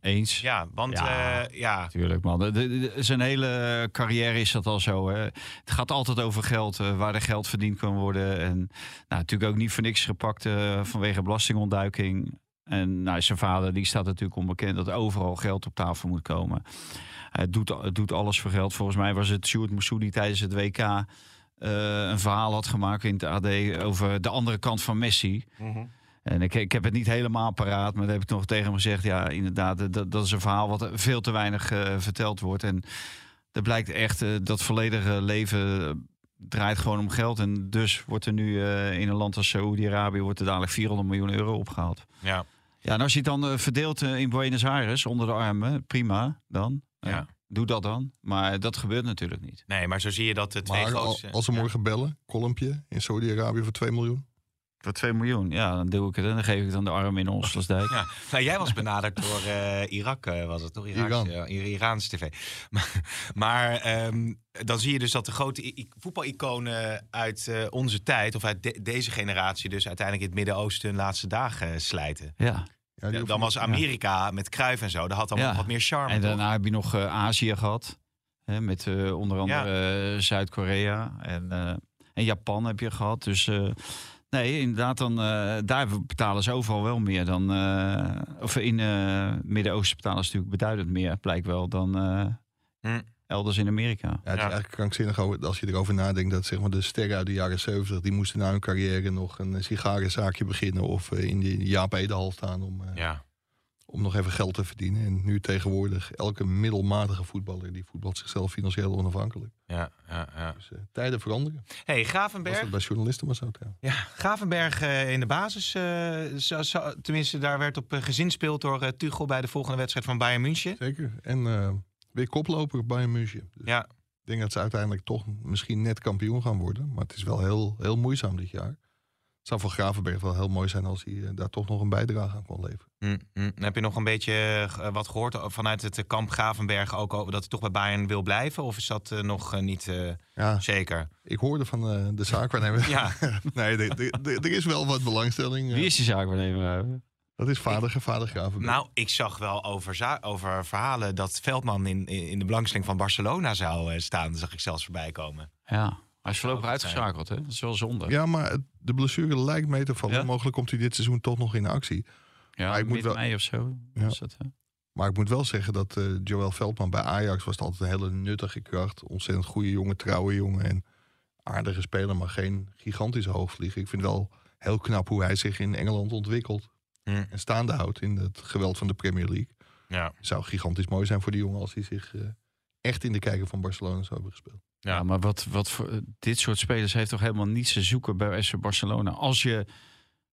Eens. Ja, want Ja. ja. ja. Tuurlijk, man. De- de- de- zijn hele carrière is dat al zo. Hè. Het gaat altijd over geld, eh, waar er geld verdiend kan worden. En nou, natuurlijk ook niet voor niks gepakt eh, vanwege belastingontduiking. En nou, zijn vader die staat natuurlijk onbekend dat overal geld op tafel moet komen. Hij doet, het doet alles voor geld. Volgens mij was het Sjoerd Moussoudi tijdens het WK eh, een verhaal had gemaakt in het AD over de andere kant van Messi. En ik, ik heb het niet helemaal paraat, maar daar heb ik nog tegen hem gezegd. Ja, inderdaad, eh, dat, dat is een verhaal wat veel te weinig eh, verteld wordt. En dat blijkt echt, eh, dat volledige leven eh, draait gewoon om geld. En dus wordt er nu eh, in een land als Saoedi-Arabië wordt er dadelijk 400 miljoen euro opgehaald. ja. Ja, en als je het dan eh, verdeelt eh, in Buenos Aires onder de armen, prima dan. Ja. Eh, doe dat dan. Maar dat gebeurt natuurlijk niet. Nee, maar zo zie je dat eh, de twee Maar al- grootste... als ze morgen bellen, kolompje in Saudi-Arabië voor 2 miljoen. Voor 2 miljoen, ja, dan doe ik het. En dan geef ik dan de arm in Osloosdijk. Ja. Nou, jij was benaderd door eh, Irak, eh, was het toch? Iraakse- Iran. ja, I- Iraans tv. Maar, maar ehm, dan zie je dus dat de grote i- i- voetbaliconen uit eh, onze tijd... of uit de- deze generatie dus uiteindelijk in het Midden-Oosten... hun laatste dagen eh, slijten. ja. Ja, die Ja, hoeven- dan was Amerika met Kruif en zo. Dat had dan Ja. wat meer charme. En toch? daarna heb je nog eh, Azië gehad. Hè, met eh, onder andere eh, Zuid-Korea en, eh, en Japan heb je gehad. Dus eh, nee, inderdaad, dan, eh, daar betalen ze overal wel meer dan. eh, of in eh Midden-Oosten betalen ze natuurlijk beduidend meer, blijkt wel, dan eh, Hm. elders in Amerika. Ja, het Ja. is eigenlijk krankzinnig over- als je erover nadenkt dat zeg maar, de sterren uit de jaren 70 die moesten na hun carrière nog een eh, sigarenzaakje beginnen of eh, in de Jaap Edehal staan om, eh, Ja. om nog even geld te verdienen. En nu tegenwoordig elke middelmatige voetballer die voetbalt zichzelf financieel onafhankelijk. Ja, ja, ja. Dus eh, tijden veranderen. Hey, Was Gravenberg. dat bij journalisten maar zo trouwens. Ja, Gravenberg eh, in de basis. eh, zo- zo- tenminste, daar werd op eh, gezinspeeld door eh, Tuchel bij de volgende wedstrijd van Bayern München. Zeker. En eh, weer koploper bij een museum. Dus Ja, Ik denk dat ze uiteindelijk toch misschien net kampioen gaan worden. Maar het is wel heel, heel moeizaam dit jaar. Het zou voor Gravenberg wel heel mooi zijn als hij eh, daar toch nog een bijdrage aan kon leveren. Mm, mm. Heb je nog een beetje eh, wat gehoord vanuit het eh, kamp Gravenberg ook over dat hij toch bij Bayern wil blijven? Of is dat eh, nog eh, niet eh, Ah. Ja, zeker? ik hoorde van eh, de zaakwaarnemer. Ja. nee, de- de- de- er is wel wat belangstelling. eh. Wie is die zaakwaarnemer? eh? Dat is vader, vader Gravenberg. Nou, ik zag wel over, za- over verhalen dat Veldman in, in de belangstelling van Barcelona zou eh, staan. Dat zag ik zelfs voorbij komen. Ja, hij is voorlopig uitgeschakeld, hè? Dat is wel zonde. Ja, maar het- de blessure lijkt mee te vallen. Ja? Mogelijk komt hij dit seizoen toch nog in actie. Ja, Maar ik moet mid wel- mei of zo. Ja. is dat, hè? Maar ik moet wel zeggen dat eh Joël Veldman bij Ajax was het altijd een hele nuttige kracht. Ontzettend goede jongen, trouwe jongen en aardige speler, maar geen gigantische hoogvlieger. Ik vind wel heel knap hoe hij zich in Engeland ontwikkelt Mm. en staande houdt in het geweld van de Premier League. Ja. Zou gigantisch mooi zijn voor die jongen als hij zich eh, echt in de kijker van Barcelona zou hebben gespeeld. Ja. Ja, maar wat, wat voor, eh, dit soort spelers heeft toch helemaal niets te zoeken bij SC Barcelona. Als je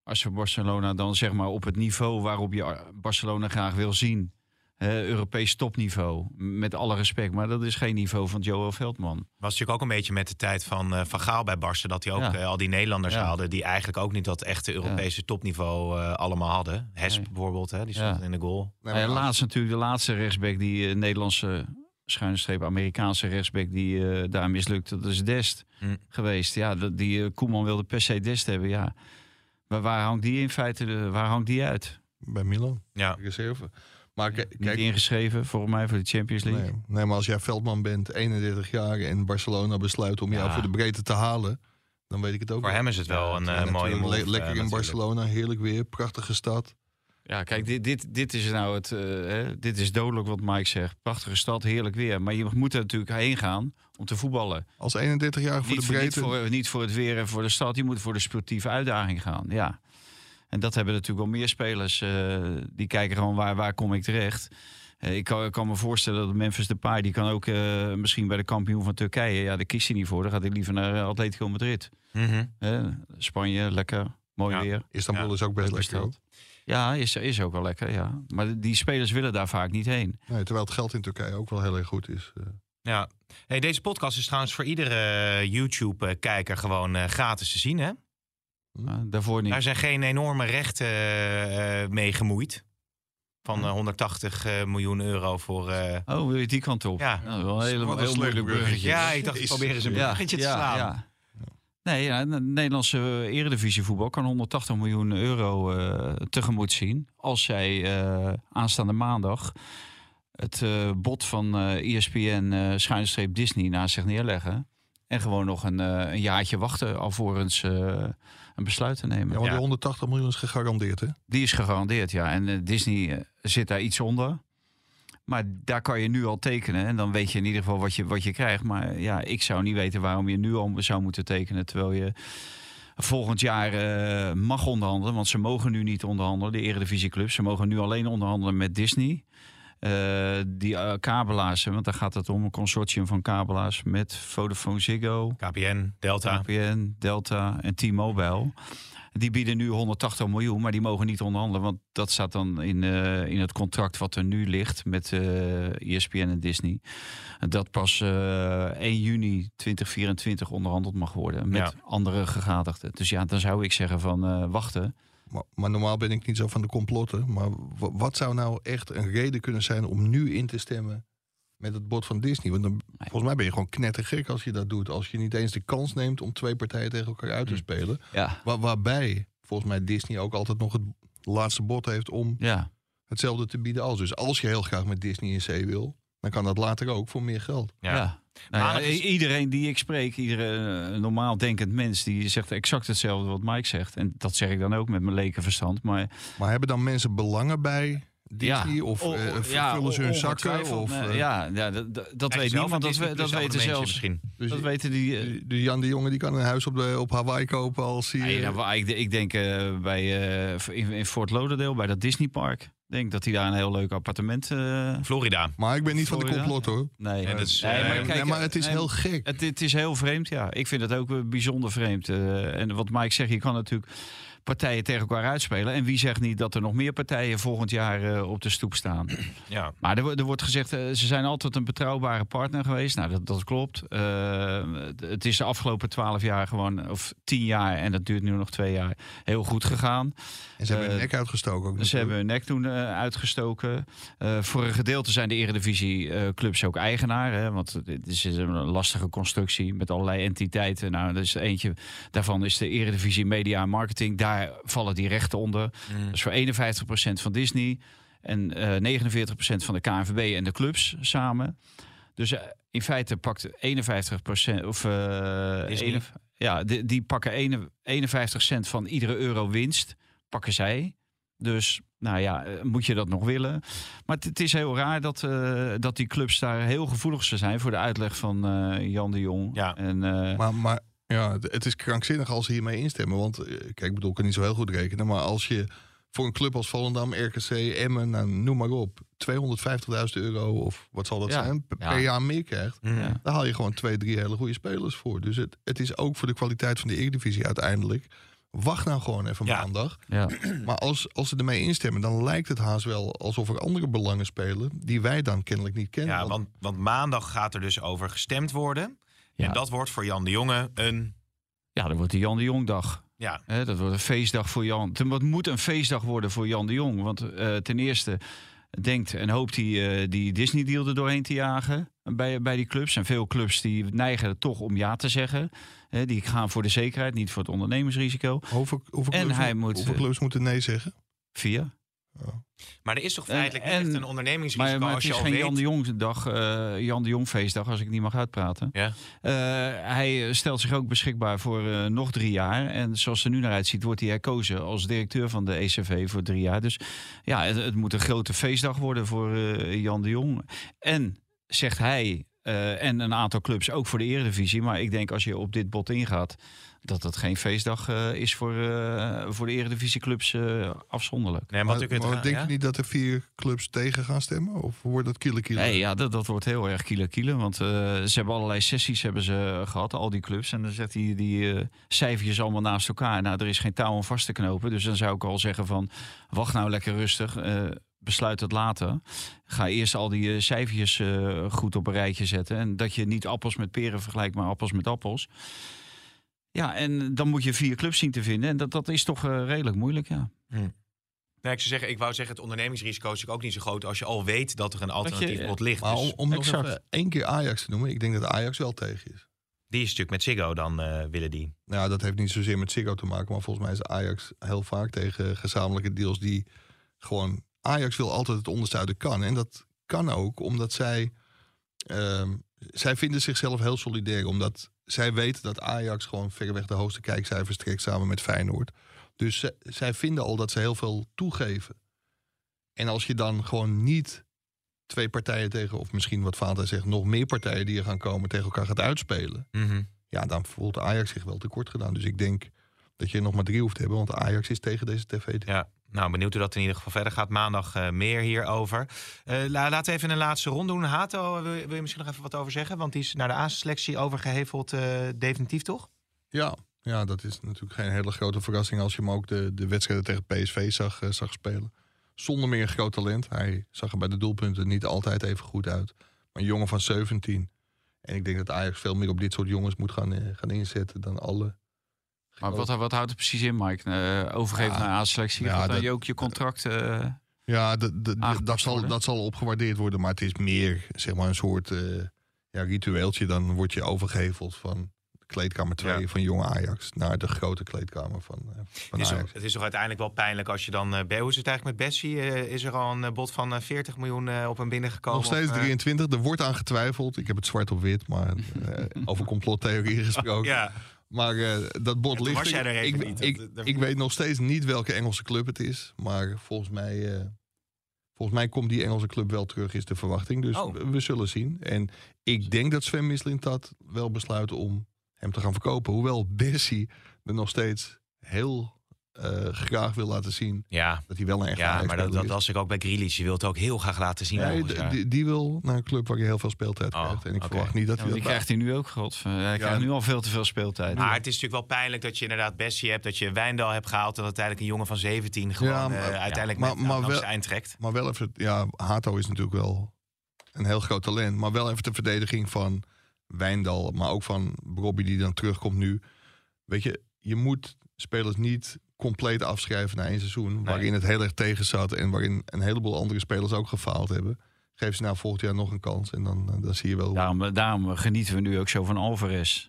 als je Barcelona dan zeg maar op het niveau waarop je Ar- Barcelona graag wil zien, hè, Europees topniveau, m- met alle respect, maar dat is geen niveau van Joel Veldman. Was natuurlijk ook een beetje met de tijd van eh, Van Gaal bij Barça... dat hij ook Ja. eh, al die Nederlanders Ja. haalde... die eigenlijk ook niet dat echte Europese topniveau eh, allemaal hadden. Hesp Nee. bijvoorbeeld, hè, die stond Ja. in de goal. Nee, Eh, maar als- laatst natuurlijk de laatste rechtsback die eh, Nederlandse schuine streep Amerikaanse rechtsback die eh, daar mislukt. Dat is Dest Hm. geweest. Ja, dat- die eh, Koeman wilde per se Dest hebben. Ja, maar waar hangt die in feite? de- waar hangt die uit? Bij Milan, Ja. reserve. Maar k- Niet kijk, ingeschreven volgens mij voor de Champions League. nee, nee, maar als jij Veldman bent, 31 jaar... en Barcelona besluit om jou Ja. voor de breedte te halen... dan weet ik het ook Voor wel. hem is het wel een En eh, mooie natuurlijk move. le- eh, lekker in natuurlijk. Barcelona, heerlijk weer, prachtige stad. Ja, kijk, dit, dit, dit is nou het. eh, hè, dit is dodelijk wat Mike zegt. Prachtige stad, heerlijk weer. Maar je moet er natuurlijk heen gaan om te voetballen. Als 31 jaar voor niet, de niet, breedte... voor, eh, niet voor het weer en voor de stad. Je moet voor de sportieve uitdaging gaan. Ja. En dat hebben natuurlijk wel meer spelers. eh, die kijken gewoon waar, waar kom ik terecht. Eh, ik, kan, ik kan me voorstellen dat Memphis Depay... die kan ook eh, misschien bij de kampioen van Turkije... ja, daar kiest hij niet voor. Dan gaat hij liever naar eh, Atletico Madrid. Mhm. Eh, Spanje, lekker. Mooi Ja. weer. Istanbul Ja, is ook best Leuke lekker. stad. Ja, is, is ook wel lekker, ja. Maar die spelers willen daar vaak niet heen. hoor. Nee, terwijl het geld in Turkije ook wel heel erg goed is. eh. Ja. Hey, deze podcast is trouwens voor iedere eh, YouTube-kijker gewoon eh, gratis te zien. Hè? Maar daarvoor niet. Daar zijn geen enorme rechten eh, eh, mee gemoeid. Van eh, 180 eh, miljoen euro voor. eh, Oh, wil je die kant op? Ja. Nou, wel een hele, Wat een heel slecht moeilijk bruggetje. bruggetje. Ja, ik dacht, ik Jezus. probeer eens een Ja, bruggetje te ja, slaan. ja. Nee, ja, de Nederlandse eredivisievoetbal kan 180 miljoen euro eh, tegemoet zien. Als zij eh, aanstaande maandag het eh bod van eh ESPN eh schuinstreep Disney naast zich neerleggen. En gewoon nog een, eh, een jaartje wachten alvorens eh een besluit te nemen. Ja, want Ja. die 180 miljoen is gegarandeerd, hè? Die is gegarandeerd, ja. En eh, Disney eh, zit daar iets onder. Maar daar kan je nu al tekenen. En dan weet je in ieder geval wat je, wat je krijgt. Maar eh, ja, ik zou niet weten waarom je nu al zou moeten tekenen. Terwijl je volgend jaar eh, mag onderhandelen. Want ze mogen nu niet onderhandelen, de Eredivisieclubs. Ze mogen nu alleen onderhandelen met Disney. Eh, die eh, kabelaars, hè, want daar gaat het om. Een consortium van kabelaars met Vodafone Ziggo. KPN, Delta. KPN, Delta en T-Mobile. Die bieden nu 180 miljoen, maar die mogen niet onderhandelen. Want dat staat dan in, eh, in het contract wat er nu ligt met eh ESPN en Disney. Dat pas eh, 1 juni 2024 onderhandeld mag worden met Ja. andere gegadigden. Dus ja, dan zou ik zeggen van eh, wachten. Maar, maar normaal ben ik niet zo van de complotten. Maar wa- wat zou nou echt een reden kunnen zijn om nu in te stemmen met het bod van Disney? Want dan, volgens mij ben je gewoon knettergek als je dat doet. Als je niet eens de kans neemt om twee partijen tegen elkaar uit te Hmm. spelen. Ja, Wa- waarbij volgens mij Disney ook altijd nog het laatste bod heeft om ja. hetzelfde te bieden als. Dus als je heel graag met Disney in zee wil, dan kan dat later ook voor meer geld. Ja. Ja. Nou ja, Maandag is- i- Iedereen die ik spreek, iedere eh, normaal denkend mens, die zegt exact hetzelfde wat Mike zegt. En dat zeg ik dan ook met mijn leken verstand. Maar Maar hebben dan mensen belangen bij Disney? Of O- eh, o- ver- ja, vullen ze hun zakken? ongetwijfeld. Of, Nee, eh, ja, ja, dat, dat- dat weet Zelf niemand. een Dat, Disney we- dat Plus abonnementje weten zelfs. Misschien. dus dat die- weten die. eh, die- die Jan de Jonge die kan een huis op, de, op Hawaii kopen als hij... nee, eh, nou, waar ik, ik denk eh, bij, eh, in, in Fort Lauderdale, bij dat Disneypark. Ik denk dat hij daar een heel leuk appartement. eh, Florida. maar ik ben niet van de Florida? complot hoor. nee, En dat is, Nee, eh, maar Nee, kijk, maar het is nee, heel gek. Het, het is heel vreemd, ja. Ik vind het ook eh, bijzonder vreemd. Eh, en wat Mike zegt, je kan natuurlijk partijen tegen elkaar uitspelen. En wie zegt niet dat er nog meer partijen volgend jaar eh, op de stoep staan? ja. Maar er, wo- er wordt gezegd, eh, ze zijn altijd een betrouwbare partner geweest. Nou, dat, dat klopt. Eh, het- het is de afgelopen twaalf jaar gewoon, of tien jaar, en dat duurt nu nog twee jaar, heel goed gegaan. En ze hebben hun Eh, nek uitgestoken. Ze Ook natuurlijk. hebben hun nek toen eh, uitgestoken. Eh, voor een gedeelte zijn de Eredivisie-clubs ook eigenaar. Hè, want dit is een lastige constructie met allerlei entiteiten. Nou, dat is eentje daarvan is de Eredivisie Media en Marketing. Daar vallen die rechten onder. Mm. Dat is voor 51% van Disney. En eh 49% van de KNVB en de clubs samen. Dus eh, in feite pakt 51% of eh, Disney. ene- ja, die, die pakken ene- 51 cent van iedere euro winst pakken zij. Dus nou ja, eh, moet je dat nog willen? Maar het- het is heel raar dat, eh, dat die clubs daar heel gevoelig voor zijn voor de uitleg van eh, Jan de Jong. Ja. En, eh, Maar, maar ja, het- het is krankzinnig als ze hiermee instemmen. Want eh, kijk, ik bedoel, ik kan niet zo heel goed rekenen. Maar als je voor een club als Volendam, RKC, Emmen, nou, noem maar op... 250.000 euro of wat zal dat Ja. zijn, per, per Ja. jaar meer krijgt... Mhm. daar haal je gewoon twee, drie hele goede spelers voor. Dus het, het is ook voor de kwaliteit van de Eredivisie uiteindelijk... Wacht nou gewoon even Ja. maandag. ja. Maar als, als ze ermee instemmen, dan lijkt het haast wel alsof er andere belangen spelen. die wij dan kennelijk niet kennen. Ja, want, want maandag gaat er dus over gestemd worden. Ja. En dat wordt voor Jan de Jonge een... ja, dan wordt de Jan de Jong dag. Ja, Hè, dat wordt een feestdag voor Jan. Ten- Wat moet een feestdag worden voor Jan de Jong? Want eh, ten eerste denkt en hoopt hij eh, die Disney-deal er doorheen te jagen bij, bij die clubs. En veel clubs die neigen er toch om ja te zeggen. Hè, die gaan voor de zekerheid, niet voor het ondernemersrisico. hoeveel, hoeveel En clubs, hij moet, hoeveel eh, clubs moeten nee zeggen? Via. maar er is toch En- feitelijk niet Eh, en- echt een ondernemingsrisico Maar, maar het als je is al geen weet... Jan de Jong dag, eh, Jan de Jong feestdag, als ik niet mag uitpraten. Ja. Eh, hij eh, stelt zich ook beschikbaar voor eh, nog drie jaar. En zoals het er nu naar uitziet, wordt hij herkozen als directeur van de ECV voor drie jaar. Dus ja, het, het moet een grote feestdag worden voor eh, Jan de Jong. En zegt hij. eh, en een aantal clubs ook voor de Eredivisie. Maar ik denk als je op dit bod ingaat, dat dat geen feestdag eh, is voor, eh, voor de Eredivisieclubs eh afzonderlijk. Nee, maar Maar, wat ik het maar ga- denk ja? je niet dat er vier clubs tegen gaan stemmen? Of wordt dat kiele kiele? Nee, ja, dat, dat wordt heel erg kiele kiele. Want eh, ze hebben allerlei sessies hebben ze gehad, al die clubs. En dan zegt hij die eh, cijfertjes allemaal naast elkaar. Nou, er is geen touw om vast te knopen. Dus dan zou ik al zeggen van, wacht nou lekker rustig. eh, besluit het later. Ga eerst al die eh, cijfertjes eh, goed op een rijtje zetten. En dat je niet appels met peren vergelijkt, maar appels met appels. Ja, en dan moet je vier clubs zien te vinden. En dat, dat is toch eh, redelijk moeilijk, ja. Nee, ik, zou zeggen, ik wou zeggen, het ondernemingsrisico is natuurlijk ook niet zo groot... als je al weet dat er een alternatief eh, bod ligt. maar om, Dus om nog exact. even één keer Ajax te noemen. Ik denk dat Ajax wel tegen is. die is natuurlijk met Ziggo dan eh, willen die. Nou, ja, dat heeft niet zozeer met Ziggo te maken. Maar volgens mij is Ajax heel vaak tegen gezamenlijke deals die gewoon... Ajax wil altijd het onderste uit de kan. En dat kan ook omdat zij... ehm, zij vinden zichzelf heel solidair. Omdat zij weten dat Ajax gewoon verreweg de hoogste kijkcijfers trekt samen met Feyenoord. Dus ze- zij vinden al dat ze heel veel toegeven. En als je dan gewoon niet twee partijen tegen, of misschien wat Vader zegt, nog meer partijen die er gaan komen tegen elkaar gaat uitspelen ja, dan voelt Ajax zich wel tekort gedaan. Dus ik denk dat je er nog maar drie hoeft te hebben, want Ajax is tegen deze tv. Ja, nou benieuwd hoe dat in ieder geval verder gaat. Maandag eh, meer hierover. Eh, la- laten we even een laatste ronde doen. Hato, eh, wil, je- wil je misschien nog even wat over zeggen? Want die is naar de A-selectie overgeheveld, eh, definitief toch? Ja, ja, dat is natuurlijk geen hele grote verrassing als je hem ook de, de wedstrijden tegen PSV zag, eh, zag spelen. Zonder meer een groot talent. Hij zag er bij de doelpunten niet altijd even goed uit. Maar een jongen van 17. En ik denk dat Ajax veel meer op dit soort jongens moet gaan, eh, gaan inzetten dan alle. Maar wat, wat houdt het precies in, Mike? Eh, overgeven Ja. naar A-selectie? Ja, Gaat dan dat- je ook je contract... eh, Ja, de- de- de- Aangepast dat, zal, worden. dat zal opgewaardeerd worden, maar het is meer zeg maar, een soort eh, ja, ritueeltje. Dan word je overgeheveld van kleedkamer 2 Ja. van jonge Ajax naar de grote kleedkamer van, eh, Het van is, Ajax. toch- het is toch uiteindelijk wel pijnlijk als je dan... eh bij, hoe is het eigenlijk met Bessie? Eh, is er al een eh, bod van eh, 40 miljoen eh, op hem binnengekomen? Nog steeds Of, eh, 23, er wordt aan getwijfeld. Ik heb het zwart op wit, maar eh, over complottheorieën gesproken. Ja, Maar eh, dat bot toen ligt. was jij er ik, even niet. ik, Dat- dat- ik weet nog steeds niet welke Engelse club het is, maar volgens mij, eh, Volgens mij komt die Engelse club wel terug, is de verwachting. Dus Oh. we zullen zien. En ik denk dat Sven Mislint dat wel besluit om hem te gaan verkopen. Hoewel Bessie er nog steeds heel eh, graag wil laten zien Ja, dat hij wel een echte ja maar dat, Ajax-speler dat is. las ik ook bij Grealish. Je wilt het ook heel graag laten zien. Nee, volgend d- jaar. die, die wil naar een club waar je heel veel speeltijd Oh, krijgt. En ik oké. verwacht niet dat hij Ja, die dat krijgt hij nu ook, god. Hij krijgt nu al veel te veel speeltijd. Maar het is natuurlijk wel pijnlijk dat je inderdaad Bessie hebt, dat je Wijndal hebt gehaald en dat uiteindelijk een jongen van 17 gewoon Ja, maar- eh, uiteindelijk ja, maar- met maar maar, wel- langs het eind trekt. Maar wel even, ja, Hato is natuurlijk wel een heel groot talent. Maar wel even de verdediging van Wijndal, maar ook van Robbie die dan terugkomt nu. Weet je, je moet spelers niet compleet afschrijven na één seizoen. Waarin het heel erg tegen zat en waarin een heleboel andere spelers ook gefaald hebben. Geef ze nou volgend jaar nog een kans en dan, eh, dan zie je wel. hoe- Daarom, daarom genieten we nu ook zo van Alvarez.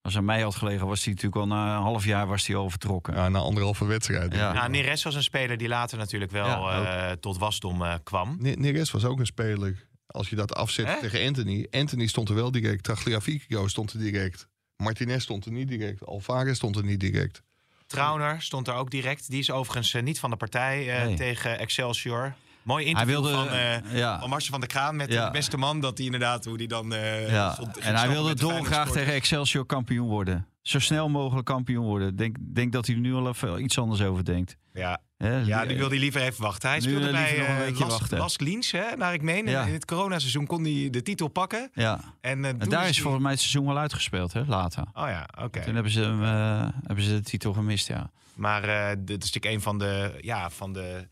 Als aan mij had gelegen, was hij natuurlijk al na een half jaar was hij al vertrokken. Ja, na anderhalve wedstrijd. Ja. Nou, Neres was een speler die later natuurlijk wel Ja, ook. eh, tot wasdom eh, kwam. Ne- Neres was ook een speler. Als je dat afzet Hè? tegen Anthony. Anthony stond er wel direct. Tagliafico stond er direct. Martinez stond er niet direct. Alvarez stond er niet direct. Trauner stond daar ook direct. Die is overigens eh, niet van de partij eh, Nee. tegen Excelsior. Mooi Hij interview wilde, van, eh ja, van Marcel van der Kraan met Ja. de beste man. Dat hij inderdaad, hoe die dan... eh, ja. stond- ging en hij stappen wilde met de dolgraag Feyenoord-supporters. tegen Excelsior kampioen worden. Zo snel mogelijk kampioen worden. Denk, denk dat hij er nu al even iets anders over denkt. Ja, Hè, ja, li- die wilde hij liever even wachten. Hij Nu speelde liever bij nog een eh, weekje Las, wachten. Las Liens, hè, naar ik meen. En Ja. In het coronaseizoen kon hij de titel pakken. ja. En, eh, En toen daar is hij- volgens mij het seizoen wel uitgespeeld, hè, later. Oh ja, oké. Toen hebben ze, hem, eh, hebben ze de titel gemist, ja. Maar eh, dit is natuurlijk een van de, ja, van de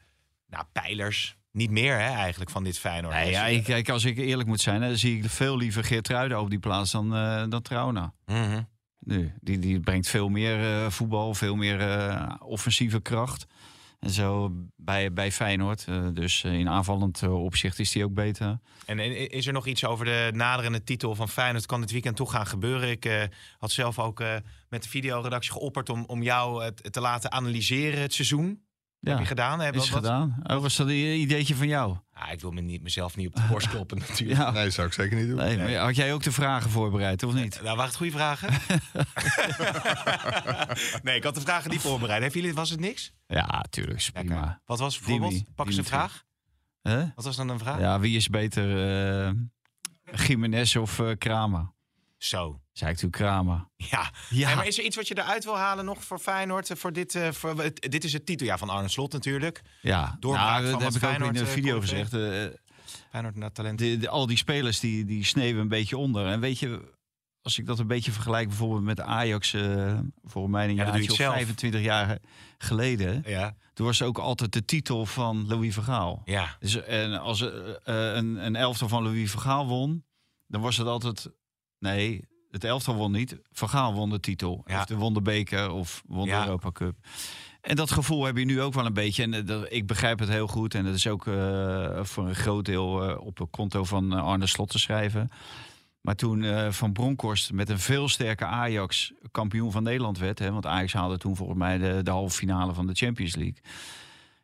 nou, pijlers. Niet meer hè, eigenlijk van dit Feyenoord. Nee, Dus, ja, eh, ik, kijk, als ik eerlijk moet zijn, hè, zie ik veel liever Geertruiden op die plaats dan, eh dan Trauna. mhm. Nu, die, die brengt veel meer eh, voetbal, veel meer eh, offensieve kracht. En zo bij, bij Feyenoord. Eh, dus eh, in aanvallend eh, opzicht is die ook beter. En en is er nog iets over de naderende titel van Feyenoord? Kan dit weekend toch gaan gebeuren? Ik eh, had zelf ook eh, met de videoredactie geopperd om, om jou het te laten analyseren het seizoen. Ja, Heb je gedaan? Heb je is wat- gedaan. Oh, was dat een ideetje van jou? Ah, ik wil me niet, mezelf niet op de borst kloppen natuurlijk. Ja. Nee, zou ik zeker niet doen. Nee, maar had jij ook de vragen voorbereid, of niet? Nou, waren het goede vragen? nee, ik had de vragen niet voorbereid. Hebben jullie, was het niks? Ja, tuurlijk. is Lekker. Prima. Wat was Dimitri, bijvoorbeeld? Pak eens een Dimitri. vraag. Hè? Wat was dan een vraag? Ja, wie is beter? eh Jiménez of eh, Kramer? Zo. Zei ik toen Kramer. Ja. Ja. Hey, maar is er iets wat je eruit wil halen nog voor Feyenoord? eh, Voor dit, eh, voor, het- dit is het titeljaar van Arne Slot natuurlijk. Ja, Doorbraak van dat wat heb ik ook in Feyenoord, de eh, video kon gezegd. eh, Feyenoord naar talent. de, de- al die spelers die, die sneeuwen een beetje onder. En weet je, als ik dat een beetje vergelijk bijvoorbeeld met Ajax... eh voor mij een Ja, dat doe je jaartje of zelf. 25 jaar geleden... Ja, toen was ook altijd de titel van Louis Vergaal. ja. Dus, en als eh, eh, een, een elftal van Louis Vergaal won... dan was het altijd... Nee, het elftal won niet. Vergaal won de titel. Ja. Of de won de beker of won Ja. de Europa Cup. En dat gevoel heb je nu ook wel een beetje. En eh, dat, ik begrijp het heel goed. En dat is ook eh, voor een groot deel eh, op het konto van eh, Arne Slot te schrijven. Maar toen eh, Van Bronkhorst met een veel sterker Ajax kampioen van Nederland werd... Hè, want Ajax haalde toen volgens mij de, de halve finale van de Champions League...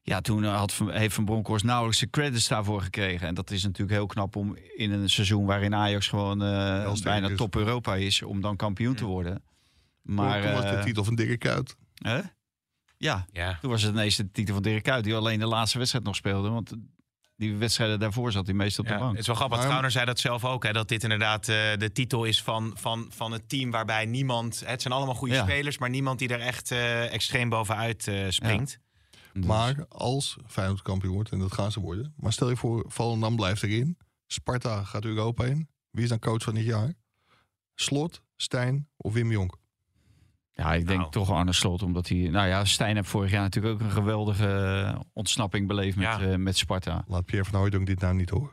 Ja, toen eh, had, Van- heeft Van Bronckhorst nauwelijks de credits daarvoor gekregen. En dat is natuurlijk heel knap om in een seizoen waarin Ajax gewoon eh, sterk bijna is. Mm. top Europa is... om dan kampioen te worden. Maar, toen was de eh, titel van Dirk Kuyt. hè? Ja, ja. toen was het ineens de titel van Dirk Kuyt... die alleen de laatste wedstrijd nog speelde. Want die wedstrijden daarvoor zat hij meestal op de Ja, bank. het is wel grappig. Maar- Trouwner zei dat zelf ook. Hè, dat dit inderdaad eh, de titel is van, van, van het team waarbij niemand... hè, het zijn allemaal goede Ja. spelers, maar niemand die er echt eh, extreem bovenuit eh, springt. Dus- Maar als Feyenoord kampioen wordt, en dat gaan ze worden. Maar stel je voor, Volendam blijft erin. Sparta gaat Europa in. Wie is dan coach van dit jaar? Slot, Stijn of Wim Jonk? Ja, ik denk Nou. toch Arne Slot, omdat hij... Nou ja, Stijn heeft vorig jaar natuurlijk ook een geweldige eh, ontsnapping beleefd met, Ja. eh, met Sparta. Laat Pierre van Hooijdonk dit nou niet horen.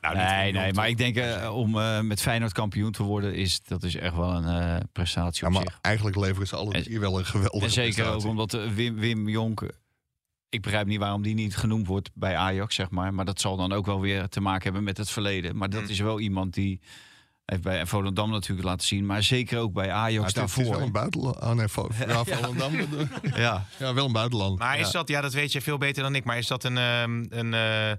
Nou, dit- nee, nee, maar ik denk eh, om eh, met Feyenoord kampioen te worden, is, dat is echt wel een eh, prestatie Ja, op maar zich. eigenlijk leveren ze alle En- hier wel een geweldige En zeker ook prestatie. omdat eh, Wim, Wim Jonk, ik begrijp niet waarom die niet genoemd wordt bij Ajax, zeg maar. Maar dat zal dan ook wel weer te maken hebben met het verleden. Maar Mm. dat is wel iemand die heeft bij Volendam natuurlijk laten zien, maar zeker ook bij Maar Ajax het, is- het is daarvoor. wel een buitenland. Oh nee, Vo- ja, Volendam. ja. Ja. wel een buitenland. Maar is Ja. dat, ja, dat weet je veel beter dan ik, maar is dat een, ehm, een eh,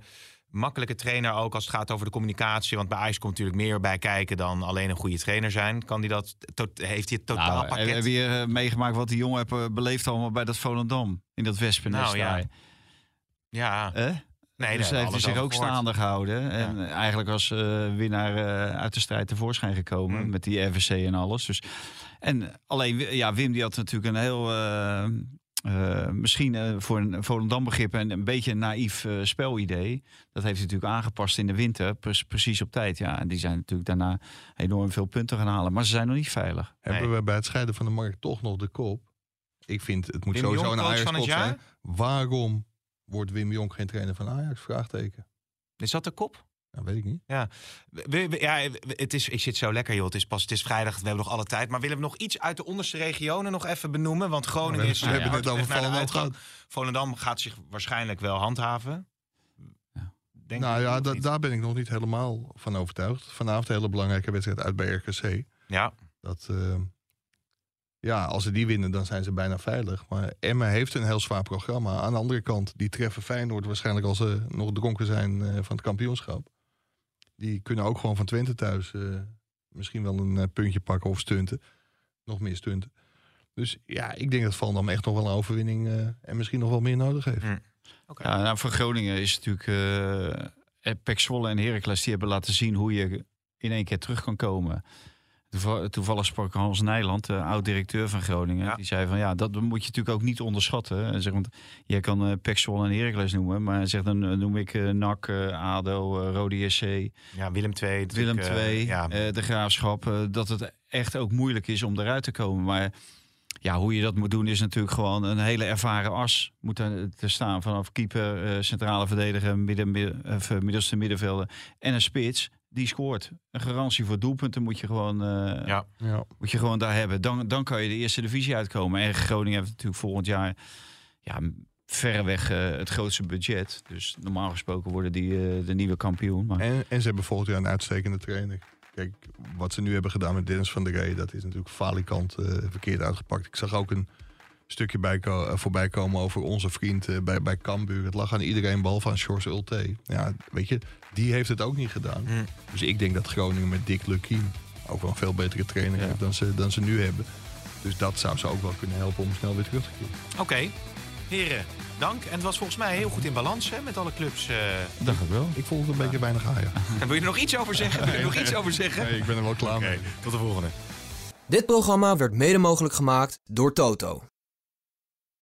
makkelijke trainer ook als het gaat over de communicatie. Want bij IJs komt natuurlijk meer bij kijken dan alleen een goede trainer zijn. Kan die dat, tot- heeft hij het totaal Nou, heb, pakket? heb je eh, meegemaakt wat die jongen heeft eh, beleefd allemaal bij dat Volendam? In dat Wespennest Nou, ja. daar, Ja, eh, hè? nee, dus daar daar heeft hij zich ook staan. staande gehouden. En eigenlijk was eh, winnaar eh, uit de strijd tevoorschijn gekomen. Mm. Met die RVC en alles. Dus, en alleen, Wi- ja, Wim die had natuurlijk een heel... eh, eh, misschien eh, voor een Volendam begrip een, een beetje een naïef eh, spelidee. Dat heeft hij natuurlijk aangepast in de winter. pre- precies op tijd. Ja. En die zijn natuurlijk daarna enorm veel punten gaan halen. Maar ze zijn nog niet veilig. Hebben we bij het scheiden van de markt toch nog de kop? Ik vind, het moet Wim sowieso Jong, een coach Ajax van het kop zijn. jaar? Waarom wordt Wim Jong geen trainer van Ajax? Vraagteken. Is dat de kop? Dat weet ik niet. We- we- ja, we- het is, ik zit zo lekker, joh. Het is pas het is vrijdag, we hebben nog alle tijd. Maar willen we nog iets uit de onderste regionen nog even benoemen? Want We Groningen hebben, is... we hebben ja, het net over naar de Volendam uitgang. gehad. Volendam gaat zich waarschijnlijk wel handhaven. Denk Nou ik, ja, of da- niet? daar ben ik nog niet helemaal van overtuigd. Vanavond een hele belangrijke wedstrijd uit bij RKC. Ja, Dat, eh, ja, als ze die winnen, dan zijn ze bijna veilig. Maar Emma heeft een heel zwaar programma. Aan de andere kant, die treffen Feyenoord waarschijnlijk als ze nog dronken zijn eh, van het kampioenschap. Die kunnen ook gewoon van Twente thuis eh, misschien wel een eh, puntje pakken of stunten. Nog meer stunten. Dus ja, ik denk dat Volendam echt nog wel een overwinning eh, en misschien nog wel meer nodig heeft. Ja, nou, voor Groningen is het natuurlijk... eh, eh Pek Zwolle en Heracles die hebben laten zien hoe je in één keer terug kan komen. Toeva- Toevallig sprak Hans Nijland, de oud-directeur van Groningen. Ja. Die zei van ja, dat moet je natuurlijk ook niet onderschatten. Hij zegt, want je kan eh Pek Zwolle en Heracles noemen. Maar hij zegt, dan eh, noem ik eh, NAC, eh, ADO, eh, Rode JC, ja, Willem II. Willem natuurlijk, eh, II, ja. eh, de Graafschap. eh, dat het echt ook moeilijk is om eruit te komen. Maar ja, hoe je dat moet doen is natuurlijk gewoon een hele ervaren as. Moet er, eh, te staan vanaf keeper, eh, centrale verdediger, midden, midden, of, eh, middelste middenvelder en een spits. Die scoort. Een garantie voor doelpunten moet je gewoon, eh, Ja. Ja. moet je gewoon daar hebben. Dan, dan kan je de eerste divisie uitkomen. En Groningen heeft natuurlijk volgend jaar ja, verreweg eh, het grootste budget. Dus normaal gesproken worden die eh, de nieuwe kampioen. Maar... En, en ze hebben volgend jaar een uitstekende trainer. Kijk, wat ze nu hebben gedaan met Dennis van der Rey, dat is natuurlijk falikant eh, verkeerd uitgepakt. Ik zag ook een stukje bij, ko- eh, voorbij komen over onze vriend eh, bij, bij Cambuur. Het lag aan iedereen, behalve aan Sjors Ulte. Ja, weet je, die heeft het ook niet gedaan. Mm. Dus ik denk dat Groningen met Dick Lukien ook wel een veel betere trainer heeft dan ze, dan ze nu hebben. Dus dat zou ze ook wel kunnen helpen om snel weer terug te keren. Oké, heren, dank. En het was volgens mij heel goed in balans hè, met alle clubs. eh. Dank u wel. Ik vond het een beetje weinig haaien. Wil je er nog iets over zeggen? Wil je er nog iets over zeggen? Nee, ik ben er wel klaar Oké, mee. tot de volgende. Dit programma werd mede mogelijk gemaakt door Toto.